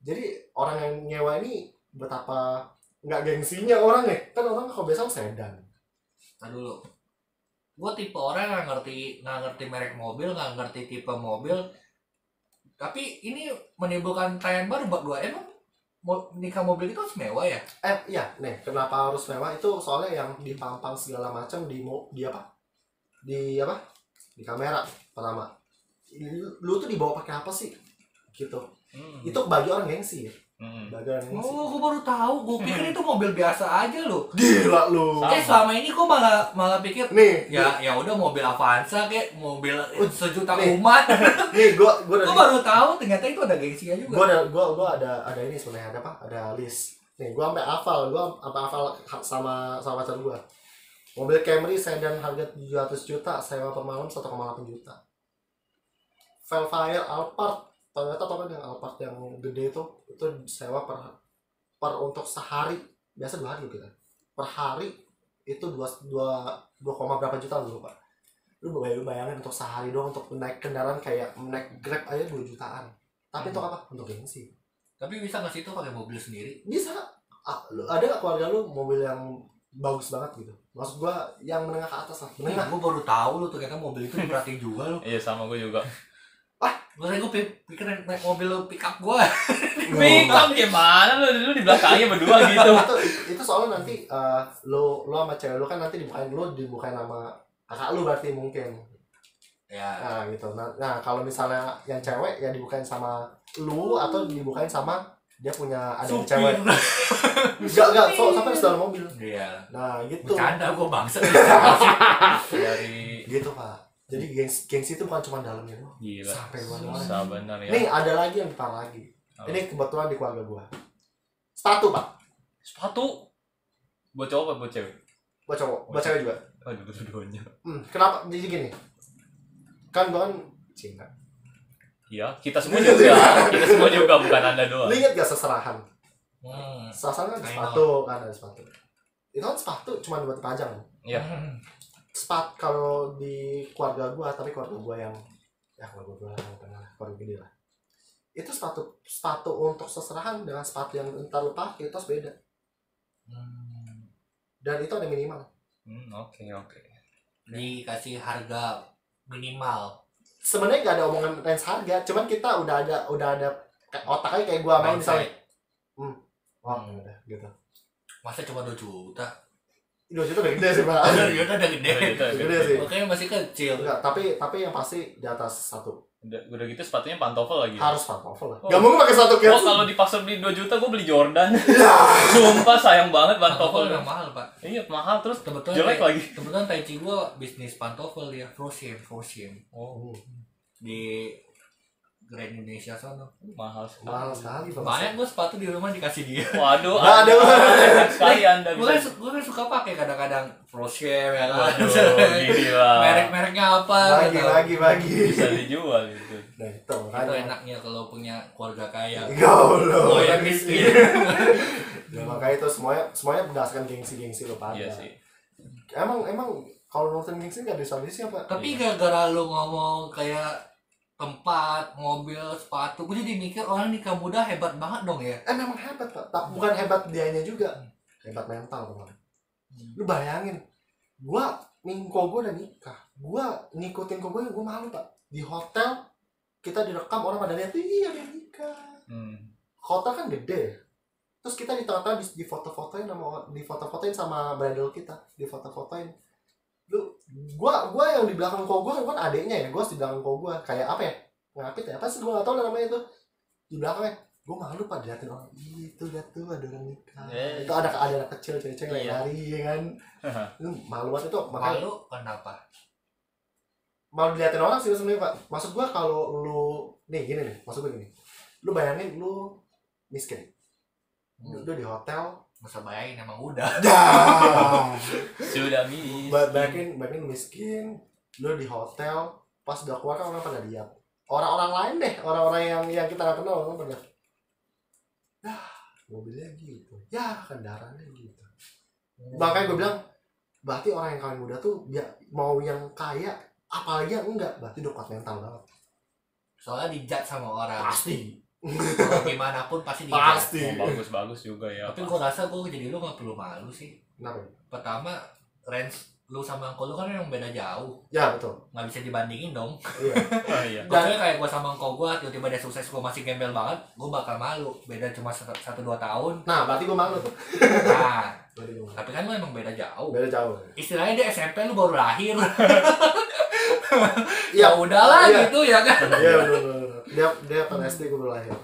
[SPEAKER 2] jadi orang yang nyewa ini betapa nggak gengsinya orang ya kan orang kalau biasa sedan
[SPEAKER 3] Ntar dulu. Gue tipe orang yang nggak ngerti nggak ngerti merek mobil, nggak ngerti tipe mobil. Tapi ini menimbulkan tren baru buat gue. Emang mo- nikah mobil itu harus mewah ya?
[SPEAKER 2] eh iya nih kenapa harus mewah itu soalnya yang dipampang segala macam di mo- di apa di apa di kamera pertama Lu- lu tuh dibawa pakai apa sih gitu
[SPEAKER 1] Hmm,
[SPEAKER 2] itu bagi orang gengsi ya bagi orang gengsi
[SPEAKER 3] Oh, gue baru tahu. Gue pikir itu mobil biasa aja loh.
[SPEAKER 2] gila lu
[SPEAKER 1] Sama.
[SPEAKER 3] Eh, selama ini gue malah malah pikir
[SPEAKER 2] nih
[SPEAKER 3] ya ya udah mobil Avanza kayak mobil sejuta
[SPEAKER 2] Nih.
[SPEAKER 3] umat.
[SPEAKER 2] nih gua gua udah
[SPEAKER 3] gue baru tahu ternyata itu ada gengsinya Iya juga.
[SPEAKER 2] gua ada gua gua ada ada ini sebenarnya ada apa ada list nih gua sampai hafal gua sampai hafal ha- sama sama pacar gua mobil Camry sedan harga 700 juta sewa per malam 1,8 juta Velfire Alphard ternyata apa kan yang Alphard yang gede itu itu sewa per per untuk sehari biasa dua hari kita per hari itu dua dua dua koma berapa juta lu lupa lu bayangin, bayangin untuk sehari doang untuk naik kendaraan kayak naik grab aja 2 jutaan tapi untuk apa untuk gengsi
[SPEAKER 3] Tapi bisa nggak sih itu pakai mobil sendiri?
[SPEAKER 2] bisa ah, lu, ada nggak keluarga lu mobil yang bagus banget gitu maksud gua yang menengah ke atas lah menengah
[SPEAKER 3] Gue baru tahu loh ternyata mobil itu diperhatiin juga loh.
[SPEAKER 1] iya sama gue juga
[SPEAKER 3] Maksudnya gue pikir naik mobil pick up gue
[SPEAKER 1] Pick up gimana lu, lu di belakangnya berdua gitu
[SPEAKER 2] itu itu soalnya nanti eh, lo lo sama cewek lo kan nanti dibukain lo dibukain sama kakak lu berarti mungkin
[SPEAKER 3] Ya
[SPEAKER 2] nah gitu nah, nah, kalau misalnya yang cewek ya dibukain sama lu atau dibukain sama dia punya ada yang cewek enggak enggak so sampai harus dalam mobil
[SPEAKER 3] Iya
[SPEAKER 2] nah gitu
[SPEAKER 3] Bercanda gue bangsa
[SPEAKER 1] dari
[SPEAKER 2] gitu pak jadi gengs gengsi itu bukan cuma dalamnya doang
[SPEAKER 1] gila
[SPEAKER 2] sampai luar luar
[SPEAKER 1] susah bener ya
[SPEAKER 2] Nih ada lagi yang parah lagi.
[SPEAKER 1] Apa?
[SPEAKER 2] Ini kebetulan di keluarga gua. Sepatu pak,
[SPEAKER 1] sepatu buat cowok apa buat cewek
[SPEAKER 2] buat cowok, buat cewek juga.
[SPEAKER 1] aduh dua-duanya
[SPEAKER 2] Hmm, kenapa? Jadi gini, kan gua kan cinta.
[SPEAKER 1] iya kita semua juga kita semua juga bukan anda doang
[SPEAKER 2] Lu inget gak seserahan?
[SPEAKER 3] Hmm
[SPEAKER 2] Seserahan kan ada
[SPEAKER 3] Ayo.
[SPEAKER 2] sepatu, kan ada sepatu. Itu kan sepatu cuma buat dipajang.
[SPEAKER 1] Iya.
[SPEAKER 3] Hmm.
[SPEAKER 2] Sepat kalau di keluarga gua, tapi keluarga gua yang ya keluarga gua lah, yang tengah, keluarga gede lah. Itu sepatu sepatu untuk seserahan dengan sepatu yang entar lu pakai itu harus beda.
[SPEAKER 3] Hmm.
[SPEAKER 2] Dan itu ada minimal.
[SPEAKER 1] Hmm, oke oke
[SPEAKER 3] Dikasih harga minimal
[SPEAKER 2] sebenarnya nggak ada omongan range harga cuman kita udah ada udah ada kayak otaknya kayak gua main misalnya wah
[SPEAKER 3] Hmm.
[SPEAKER 2] udah gitu
[SPEAKER 3] Masa cuma 2 juta
[SPEAKER 2] dua juta udah gede sih pak
[SPEAKER 3] 2 juta
[SPEAKER 1] Udah
[SPEAKER 3] udah gede
[SPEAKER 1] gitu,
[SPEAKER 2] Gede sih.
[SPEAKER 3] Makanya masih kecil
[SPEAKER 2] Enggak, tapi tapi yang pasti di atas satu
[SPEAKER 1] udah, udah gitu sepatunya pantofel lagi
[SPEAKER 2] harus pantofel lah
[SPEAKER 1] Oh.
[SPEAKER 2] nggak mungkin pakai satu
[SPEAKER 1] Oh,
[SPEAKER 2] kios
[SPEAKER 1] kalau di pasar beli 2 juta, gue beli Jordan.
[SPEAKER 2] Ya.
[SPEAKER 1] Sumpah sayang banget pantofel.
[SPEAKER 3] Pantofel udah mahal pak
[SPEAKER 1] Iya, mahal terus
[SPEAKER 3] Kebetulan
[SPEAKER 1] jelek
[SPEAKER 3] tai-
[SPEAKER 1] lagi.
[SPEAKER 3] Kebetulan Tai Chi Oh. gue bisnis pantofel dia Frozen Frozen
[SPEAKER 1] Oh,
[SPEAKER 3] Di Grand Indonesia sono.
[SPEAKER 1] mahal sekali.
[SPEAKER 2] mahal sekali bang
[SPEAKER 3] Kemarin gue sepatu di rumah dikasih dia.
[SPEAKER 1] Waduh,
[SPEAKER 2] Nggak ada.
[SPEAKER 1] ada sekali Anda
[SPEAKER 3] Gue kan,
[SPEAKER 1] bisa.
[SPEAKER 3] su- gua kan suka pakai kadang-kadang Frosher ya kan.
[SPEAKER 1] Waduh, gila.
[SPEAKER 3] Merek-mereknya apa? nggak
[SPEAKER 2] bagi
[SPEAKER 3] tahu.
[SPEAKER 2] bagi bagi
[SPEAKER 1] Bisa dijual itu.
[SPEAKER 2] nah itu
[SPEAKER 3] Itu
[SPEAKER 2] makanya
[SPEAKER 3] enaknya kalau punya keluarga kaya.
[SPEAKER 2] gaul lo
[SPEAKER 3] Oh ya
[SPEAKER 2] orang
[SPEAKER 3] miskin.
[SPEAKER 2] miskin. Ya, makanya itu semuanya semuanya berdasarkan gengsi-gengsi lo pada
[SPEAKER 1] Iya sih.
[SPEAKER 2] emang emang kalau nurutin gengsi nggak ada solusi apa
[SPEAKER 3] Tapi gara-gara lu ngomong kayak tempat, mobil, sepatu, gue jadi mikir "Oh, orang nikah muda hebat banget dong ya.
[SPEAKER 2] eh memang hebat pak tapi bukan hebat dianya juga hebat mental teman lu bayangin gua ningko gua udah nikah gua ngikutin kok gua gua malu pak di hotel kita direkam orang pada lihat iya dia nikah
[SPEAKER 1] Hmm.
[SPEAKER 2] hotel kan gede ya. terus kita di tengah-tengah di, di foto-fotoin sama orang- di foto-fotoin sama bridal kita di foto-fotoin lu gua gua yang di belakang kok gua kan adeknya ya gua di belakang kok gua kayak apa ya ngapit ya apa sih gua gak tau lah namanya itu di belakangnya gua malu pak diliatin orang "Ih, itu lihat tuh ada orang nikah
[SPEAKER 1] Eh.
[SPEAKER 2] itu ada ada anak kecil cewek-cewek yang
[SPEAKER 1] Iya.
[SPEAKER 2] lari ya kan lu malu banget itu makanya
[SPEAKER 3] Malu kenapa?
[SPEAKER 2] malu diliatin orang sih sebenarnya pak maksud gua kalau lu nih gini nih maksud gua gini lu bayangin lu miskin lu,
[SPEAKER 3] Hmm.
[SPEAKER 2] lu di hotel
[SPEAKER 3] Gak usah bayangin emang udah.
[SPEAKER 2] dah
[SPEAKER 1] Sudah mis.
[SPEAKER 2] Ba- bayangin bayangin miskin lu di hotel pas udah keluar kan orang pada lihat orang-orang lain deh orang-orang yang yang kita nggak kenal orang pada dah mobilnya gitu ya kendaraannya gitu makanya gue bilang berarti orang yang kawin muda tuh ya, mau yang kaya apalagi yang enggak berarti udah kuat mental banget
[SPEAKER 3] Soalnya dijat sama orang.
[SPEAKER 2] pasti
[SPEAKER 3] Kalau gimana pun pasti dijat.
[SPEAKER 2] pasti
[SPEAKER 1] Oh, bagus-bagus juga ya.
[SPEAKER 3] Tapi
[SPEAKER 1] Pak.
[SPEAKER 3] gue rasa gue jadi lu gak perlu malu sih.
[SPEAKER 2] kenapa
[SPEAKER 3] Pertama, range lu sama angkol lu kan memang beda jauh.
[SPEAKER 2] ya betul
[SPEAKER 3] Gak bisa dibandingin dong.
[SPEAKER 2] iya
[SPEAKER 1] Oh, iya.
[SPEAKER 3] Maksudnya kayak gue sama angkol gue, tiba-tiba dia sukses gue masih gembel banget, gue bakal malu. Beda cuma satu- satu dua tahun.
[SPEAKER 2] nah berarti gue malu tuh
[SPEAKER 3] Nah,
[SPEAKER 2] berarti gue malu
[SPEAKER 3] Tapi kan lu emang beda jauh.
[SPEAKER 2] beda jauh
[SPEAKER 3] Istilahnya dia SMP lu baru lahir. ya
[SPEAKER 2] iya
[SPEAKER 3] udahlah
[SPEAKER 2] Iya.
[SPEAKER 3] gitu ya kan.
[SPEAKER 2] iya bener, bener, bener. dia dia pada SD gue lahir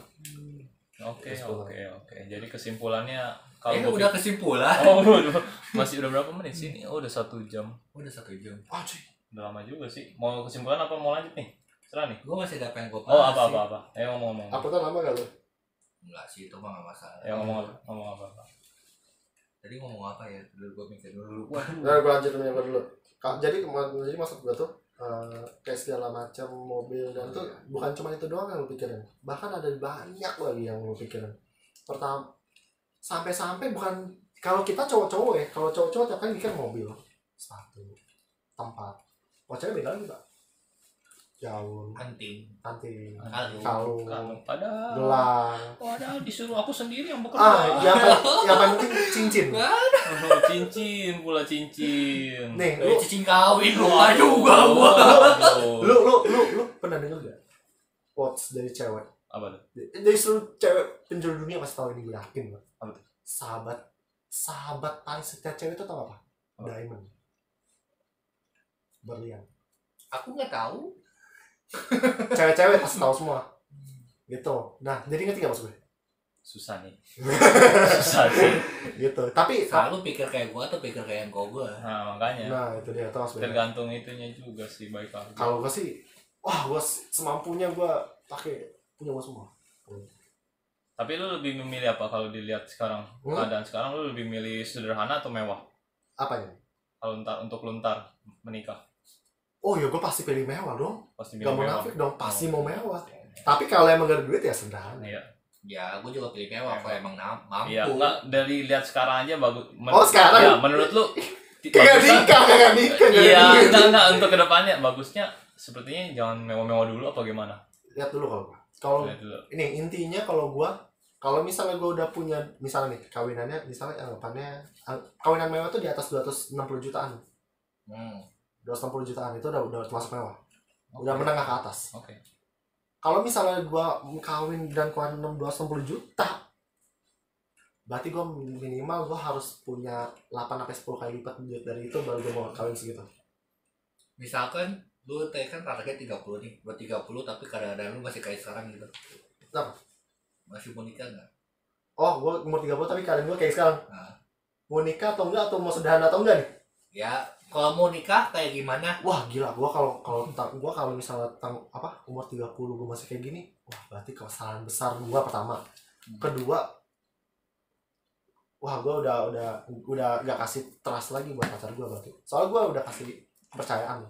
[SPEAKER 1] Oke,
[SPEAKER 2] Terus pulang.
[SPEAKER 1] oke, oke. Jadi kesimpulannya kalau gua
[SPEAKER 3] Ini Eh, udah kesimpulan.
[SPEAKER 1] Oh, udah. masih udah berapa menit sih? Ini Oh, udah satu jam.
[SPEAKER 3] Udah satu jam.
[SPEAKER 2] ah cuy
[SPEAKER 1] Udah lama juga sih. Mau kesimpulan apa mau lanjut nih? Serah nih.
[SPEAKER 3] Gue masih ada pengen gue
[SPEAKER 1] Oh, apa apa apa. Ayo ngomong-ngomong.
[SPEAKER 2] apa tuh lama gak lu
[SPEAKER 3] Enggak sih itu mah gak masalah.
[SPEAKER 1] Ayo ngomong apa? Ngomong apa? apa.
[SPEAKER 3] Tadi ngomong apa ya? Dulu gue mikir dulu.
[SPEAKER 2] Nah, gue lanjutin yang gua dulu. Ka- Jadi kema- jadi maksud gue tuh eh, kayak segala macam mobil dan tuh bukan cuma itu doang yang lu pikirin. Bahkan ada banyak lagi yang lu pikirin. Pertama sampai-sampai bukan kalau kita cowok-cowok ya, kalau cowok-cowok tiap kali mikir mobil, sepatu, tempat. Kalau cewek beda lagi, Pak. Jauh,
[SPEAKER 3] Penting.
[SPEAKER 2] nanti
[SPEAKER 3] Kalung.
[SPEAKER 2] kalung,
[SPEAKER 1] Kalau Kan, padahal
[SPEAKER 2] gelang.
[SPEAKER 1] padahal disuruh aku sendiri yang bekerja.
[SPEAKER 2] Ah, yang, pa- yang penting cincin.
[SPEAKER 1] Oh, cincin pula cincin. Oh,
[SPEAKER 3] Eh,
[SPEAKER 2] Nih, lu
[SPEAKER 3] cicing kawin lupa juga gua.
[SPEAKER 1] Lu
[SPEAKER 2] lu lu lu lu pernah dengar gak quotes dari cewek?
[SPEAKER 1] apa tuh?
[SPEAKER 2] dari seluruh cewek penjuru dunia pasti tahu ini gue yakin loh
[SPEAKER 1] Apa tuh?
[SPEAKER 2] sahabat sahabat paling setia cewek itu tau apa?
[SPEAKER 1] Apa?
[SPEAKER 2] diamond berlian
[SPEAKER 3] Aku nggak tahu.
[SPEAKER 2] cewek-cewek pasti tahu semua gitu nah jadi ngerti gak maksud gue?
[SPEAKER 1] Susah nih. Susah sih.
[SPEAKER 2] gitu tapi
[SPEAKER 3] Selalu pikir kayak gue atau pikir kayak engkau gue.
[SPEAKER 1] Nah, makanya
[SPEAKER 2] nah itu dia itu maksudnya
[SPEAKER 1] tergantung itunya juga sih baik apa.
[SPEAKER 2] kalau gue sih wah gue semampunya gue pakai punya gue semua
[SPEAKER 1] Tapi lu lebih memilih apa kalau dilihat sekarang?
[SPEAKER 2] Hmm?
[SPEAKER 1] Keadaan sekarang lu lebih milih sederhana atau mewah?
[SPEAKER 2] apanya?
[SPEAKER 1] Kalau ntar untuk luntar menikah
[SPEAKER 2] oh ya gue pasti pilih mewah dong
[SPEAKER 1] pasti milih
[SPEAKER 2] gak mau
[SPEAKER 1] mewah.
[SPEAKER 2] nafik dong pasti mau mewah
[SPEAKER 1] Iya.
[SPEAKER 2] tapi kalau emang gak ada duit ya sederhana
[SPEAKER 1] Iya.
[SPEAKER 3] Ya gue juga pilih mewah kalau emang nam- mampu.
[SPEAKER 1] Iya, enggak dari lihat sekarang aja bagus. Men-
[SPEAKER 2] Oh, sekarang?
[SPEAKER 1] Ya, menurut lu ti-
[SPEAKER 2] kagak
[SPEAKER 1] bagusnya-
[SPEAKER 2] nikah kagak nikah gak ada
[SPEAKER 1] Iya,
[SPEAKER 2] duit.
[SPEAKER 1] enggak enggak untuk kedepannya bagusnya sepertinya jangan mewah-mewah dulu apa gimana?
[SPEAKER 2] lihat dulu kalau gua. kalau
[SPEAKER 1] Lihat dulu.
[SPEAKER 2] ini intinya kalau gua kalau misalnya gua udah punya misalnya nih kawinannya misalnya anggapannya ang- kawinan mewah tuh di atas 260 jutaan
[SPEAKER 3] Hmm.
[SPEAKER 2] 260 jutaan itu udah udah termasuk mewah udah menengah ke atas
[SPEAKER 1] Oke.
[SPEAKER 2] kalau misalnya gua kawin dan kawin 260 juta berarti gua minimal gua harus punya 8 sampai 10 kali lipat duit dari itu baru gua mau kawin segitu
[SPEAKER 3] Misalkan lu tadi kan target 30 nih, buat 30 tapi kadang-kadang lu masih kayak sekarang gitu.
[SPEAKER 2] Kenapa?
[SPEAKER 3] Masih mau nikah nggak?
[SPEAKER 2] oh gua umur 30 tapi kalian gua kayak sekarang
[SPEAKER 3] Nah.
[SPEAKER 2] mau nikah atau enggak atau mau sederhana atau enggak nih
[SPEAKER 3] Ya, Kalau mau nikah kayak gimana?
[SPEAKER 2] wah gila gua kalau kalau tentang gua kalau misalnya tentang apa umur 30 gua masih kayak gini wah berarti kesalahan besar gua pertama kedua wah gua udah udah udah gak kasih trust lagi buat pacar gua berarti soalnya gua udah kasih kepercayaan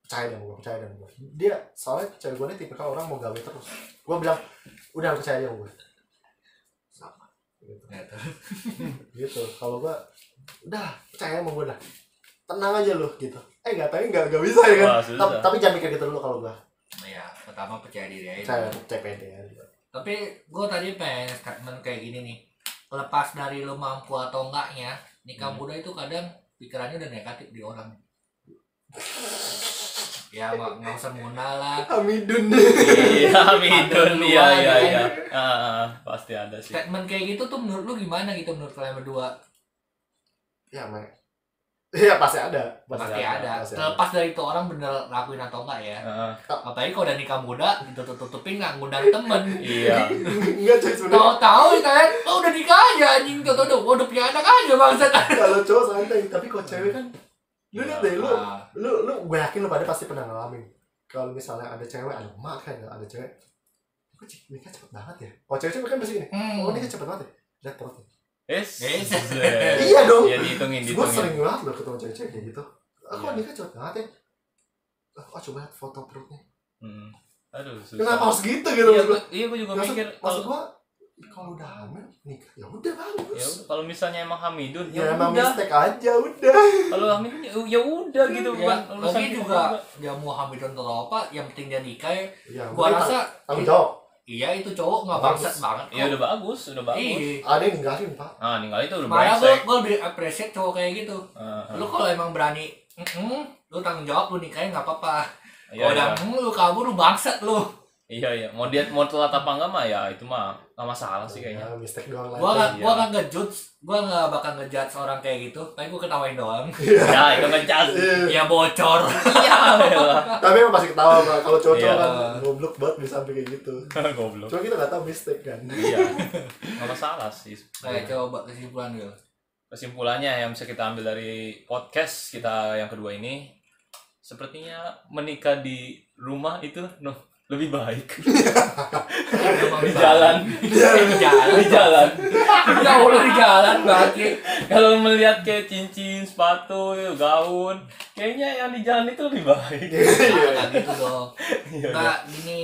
[SPEAKER 2] percaya dengan gua percaya dengan gua dia soalnya percaya gua nih tipikal orang mau gawe terus gua bilang udah percaya dia sama gua sama gitu
[SPEAKER 3] Ya, tuh.
[SPEAKER 2] gitu kalau gua udah percaya sama gua dah tenang aja lu gitu eh nggak tahu nggak nggak bisa ya kan
[SPEAKER 1] Wah,
[SPEAKER 2] tapi,
[SPEAKER 1] susah.
[SPEAKER 2] tapi jangan mikir gitu dulu kalau gua
[SPEAKER 3] Ya, pertama percaya diri aja.
[SPEAKER 2] percaya CPD ya
[SPEAKER 3] Tapi gue tadi pengen statement kayak gini nih. Lepas dari lo mampu atau enggaknya, nikah
[SPEAKER 1] Hmm.
[SPEAKER 3] muda itu kadang pikirannya udah negatif di orang. ya nggak nggak usah mengenal lah.
[SPEAKER 2] Amidun
[SPEAKER 1] Iya, Midun,
[SPEAKER 3] Ada
[SPEAKER 1] iya,
[SPEAKER 3] dua,
[SPEAKER 1] iya,
[SPEAKER 3] kan?
[SPEAKER 1] iya. Ah, pasti ada sih.
[SPEAKER 3] Statement kayak gitu tuh menurut lu gimana gitu menurut kalian berdua?
[SPEAKER 2] ya mana Iya pasti ada
[SPEAKER 3] Pasti ada.
[SPEAKER 2] pasti
[SPEAKER 3] Terlepas dari itu orang bener lakuin atau enggak ya.
[SPEAKER 1] Ah,
[SPEAKER 3] Apalagi kalau udah nikah muda, ditutup-tutupin nggak ngundang temen.
[SPEAKER 1] iya.
[SPEAKER 2] Enggak cuy sebenarnya
[SPEAKER 3] Tahu-tahu kalian, oh udah nikah aja anjing, tahu-tahu udah, udah punya anak aja bangsat.
[SPEAKER 2] kalau cowok santai tapi kalau cewek kan
[SPEAKER 1] Ya,
[SPEAKER 2] lu lihat deh lu
[SPEAKER 3] Ah.
[SPEAKER 2] lu lu gue yakin lu pada pasti pernah ngalamin kalau misalnya ada cewek ada emak kan ada cewek kok cewek nikah cepet banget ya kalau cewek-cewek kan pasti gini
[SPEAKER 3] Hmm.
[SPEAKER 2] oh nikah cepet banget ya lihat perutnya
[SPEAKER 1] Es.
[SPEAKER 3] Yes.
[SPEAKER 1] Zet.
[SPEAKER 2] Iya dong.
[SPEAKER 1] Ya dihitungin,
[SPEAKER 2] gue
[SPEAKER 1] dihitungin.
[SPEAKER 2] sering banget loh ketemu cewek-cewek kayak gitu aku
[SPEAKER 1] Iya.
[SPEAKER 2] nikah cepet banget ya oh coba lihat foto perutnya
[SPEAKER 1] Hmm. Aduh, susah.
[SPEAKER 2] kenapa harus gitu gitu
[SPEAKER 1] Iya,
[SPEAKER 2] maksud
[SPEAKER 1] gua- iya, gue juga
[SPEAKER 2] maksud,
[SPEAKER 1] mikir
[SPEAKER 2] maksud
[SPEAKER 1] kalau
[SPEAKER 2] gue kalau udah hamil nikah ya udah
[SPEAKER 1] ya
[SPEAKER 2] bagus
[SPEAKER 1] udah, kalau misalnya emang Hamidun
[SPEAKER 2] ya,
[SPEAKER 1] ya,
[SPEAKER 2] emang
[SPEAKER 1] udah.
[SPEAKER 2] mistake aja udah
[SPEAKER 1] Kalau Hamidun ya- ya udah gitu
[SPEAKER 3] ya,
[SPEAKER 1] bukan urusan
[SPEAKER 3] lagi
[SPEAKER 1] kita
[SPEAKER 3] juga dia mau hamil atau apa yang penting dia nikah ya
[SPEAKER 2] ya
[SPEAKER 3] gua
[SPEAKER 2] udah,
[SPEAKER 3] rasa
[SPEAKER 2] tanggung jawab
[SPEAKER 3] iya itu cowok nggak
[SPEAKER 2] Bagus.
[SPEAKER 3] bangsat banget
[SPEAKER 1] Ya udah bagus, udah bagus.
[SPEAKER 3] iya
[SPEAKER 2] ada yang ninggalin pak
[SPEAKER 1] Ah, ninggal itu udah
[SPEAKER 3] malah gue
[SPEAKER 1] brengsek.
[SPEAKER 3] gue lebih appreciate cowok kayak gitu
[SPEAKER 1] Ah, ah.
[SPEAKER 3] lu kalau emang berani mm lu tanggung jawab lu nikahnya nggak apa-apa
[SPEAKER 1] Iya,
[SPEAKER 3] kalau
[SPEAKER 1] iya.
[SPEAKER 3] udah "Mm, lu kabur lu bangsat lu
[SPEAKER 1] Iya, iya. Mau dia mau telat apa enggak mah ya itu mah enggak masalah sih kayaknya.
[SPEAKER 2] ya, mistake doang lah
[SPEAKER 3] gua nggak
[SPEAKER 1] iya.
[SPEAKER 3] gua nggak ngejudge gua nggak bakal ngejudge orang kayak gitu tapi gua ketawain doang
[SPEAKER 1] Ya, itu ngecas.
[SPEAKER 2] Iya.
[SPEAKER 3] ya bocor
[SPEAKER 1] Iya, elah.
[SPEAKER 2] tapi emang pasti ketawa pak kalau cowok-cowok
[SPEAKER 1] Iya.
[SPEAKER 2] kan goblok banget bisa sampai kayak gitu
[SPEAKER 1] Goblok.
[SPEAKER 2] cuma kita nggak tahu mistake kan
[SPEAKER 1] Iya. Enggak masalah sih.
[SPEAKER 3] kayak coba kesimpulan gitu
[SPEAKER 1] kesimpulannya yang bisa kita ambil dari podcast kita yang kedua ini sepertinya menikah di rumah itu no, lebih baik di jalan
[SPEAKER 3] di jalan
[SPEAKER 1] di jalan Iya.
[SPEAKER 3] ya Allah di jalan banget
[SPEAKER 1] kalau melihat kayak cincin sepatu gaun kayaknya yang di jalan itu lebih baik
[SPEAKER 2] Iya.
[SPEAKER 3] Nah, gitu dong.
[SPEAKER 1] Iya,
[SPEAKER 3] Enggak gini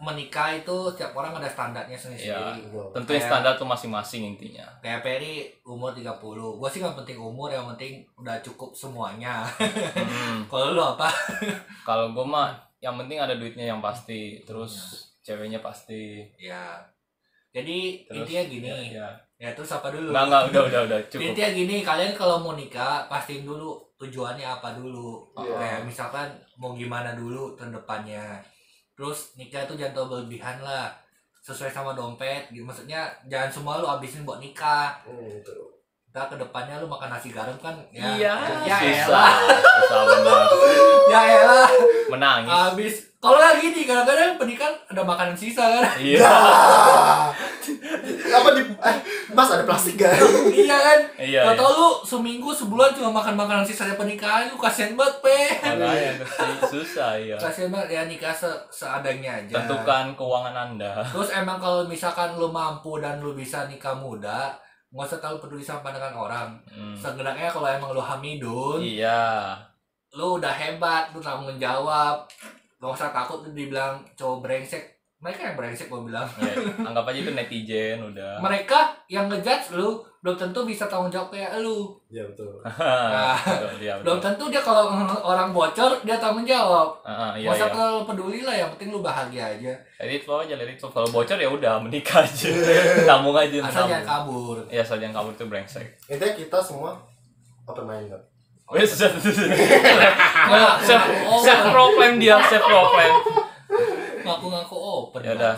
[SPEAKER 3] menikah itu setiap orang ada standarnya
[SPEAKER 1] Iya.
[SPEAKER 3] sendiri.
[SPEAKER 1] tentuin standar tuh masing-masing intinya
[SPEAKER 3] Kayak Peri umur 30. Gua sih nggak penting umur, yang penting udah cukup semuanya.
[SPEAKER 1] Hmm,
[SPEAKER 3] Kalau lu apa?
[SPEAKER 1] kalau gue mah yang penting ada duitnya yang pasti
[SPEAKER 3] Iya.
[SPEAKER 1] terus ceweknya pasti
[SPEAKER 3] Ya. Jadi
[SPEAKER 1] Iya. terus
[SPEAKER 3] intinya gini.
[SPEAKER 1] ya,
[SPEAKER 3] Ya,
[SPEAKER 1] ya.
[SPEAKER 3] terus apa dulu?
[SPEAKER 1] nggak nggak udah udah udah cukup
[SPEAKER 3] Intinya gini, kalian kalau mau nikah pastiin dulu tujuannya apa dulu.
[SPEAKER 2] Iya.
[SPEAKER 3] Kayak misalkan mau gimana dulu tahun depannya. Terus nikah itu jangan terlalu berlebihan lah. Sesuai sama dompet, gitu. maksudnya jangan semua lu abisin buat nikah.
[SPEAKER 2] Hmm, gitu.
[SPEAKER 3] Ntar kedepannya lu makan nasi garam kan? Ya,
[SPEAKER 1] Iya,
[SPEAKER 3] ya
[SPEAKER 1] susah,
[SPEAKER 3] elah,
[SPEAKER 1] susah benar.
[SPEAKER 3] ya elah.
[SPEAKER 1] Menangis.
[SPEAKER 3] Abis, kalau nggak gini, kadang-kadang pernikahan ada makanan sisa kan?
[SPEAKER 1] Iya,
[SPEAKER 2] Ah. apa di eh, mas ada plastik gak
[SPEAKER 3] iya kan?
[SPEAKER 1] iya.
[SPEAKER 3] Kalau
[SPEAKER 1] iya.
[SPEAKER 3] tau lu seminggu sebulan cuma makan makanan sisa dari pernikahan, lu kasihan banget pe.
[SPEAKER 1] Makanya terus susah ya.
[SPEAKER 3] Kasihan banget ya nikah se- seadanya aja.
[SPEAKER 1] Tentukan keuangan anda.
[SPEAKER 3] Terus emang kalau misalkan lu mampu dan lu bisa nikah muda, nggak usah terlalu peduli sama pandangan orang.
[SPEAKER 1] Hmm.
[SPEAKER 3] Seenggaknya kalau emang lu hamidun,
[SPEAKER 1] Iya.
[SPEAKER 3] lu udah hebat, lu tanggung jawab, gak usah takut lu dibilang cowok brengsek. Mereka yang brengsek gua bilang.
[SPEAKER 1] Ya, anggap aja itu netizen udah.
[SPEAKER 3] Mereka yang ngejudge lu belum tentu bisa tanggung jawab kayak lu.
[SPEAKER 1] Iya,
[SPEAKER 3] Nah,
[SPEAKER 2] ya betul
[SPEAKER 1] Hahaha, betul, Iya betul.
[SPEAKER 3] Ah, Belum tentu dia kalau orang bocor dia tanggung jawab.
[SPEAKER 1] Ah, ah, iya
[SPEAKER 3] Gak usah
[SPEAKER 1] iya.
[SPEAKER 3] terlalu peduli lah, yang penting lu bahagia aja.
[SPEAKER 1] Let it flow aja, let it flow. Kalau bocor ya udah menikah aja, tamu aja
[SPEAKER 3] Asal jangan
[SPEAKER 1] tamu.
[SPEAKER 3] kabur.
[SPEAKER 1] Iya, asal jangan kabur itu brengsek.
[SPEAKER 2] intinya kita semua open minded
[SPEAKER 1] Wes, self
[SPEAKER 3] Nah, oh,
[SPEAKER 1] self proclaim dia, self proclaim.
[SPEAKER 3] ngaku-ngaku open.
[SPEAKER 1] Ya udah.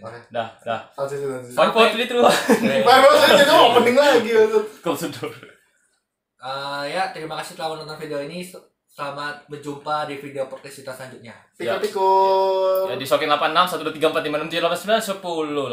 [SPEAKER 3] banget.
[SPEAKER 1] Dah, dah.
[SPEAKER 2] transisi transisi
[SPEAKER 1] Five, four, three, two, one.
[SPEAKER 2] Pak Bos ini tuh opening lagi gitu.
[SPEAKER 1] Kau sedot.
[SPEAKER 3] Eh, ya, terima kasih telah menonton video ini. Selamat berjumpa di video podcast kita selanjutnya.
[SPEAKER 1] Ya.
[SPEAKER 2] Tikur-tikur.
[SPEAKER 1] Ya, di Sokin 86, 1, 2, 3, 4, 5, 6, 7, 8, 9, 10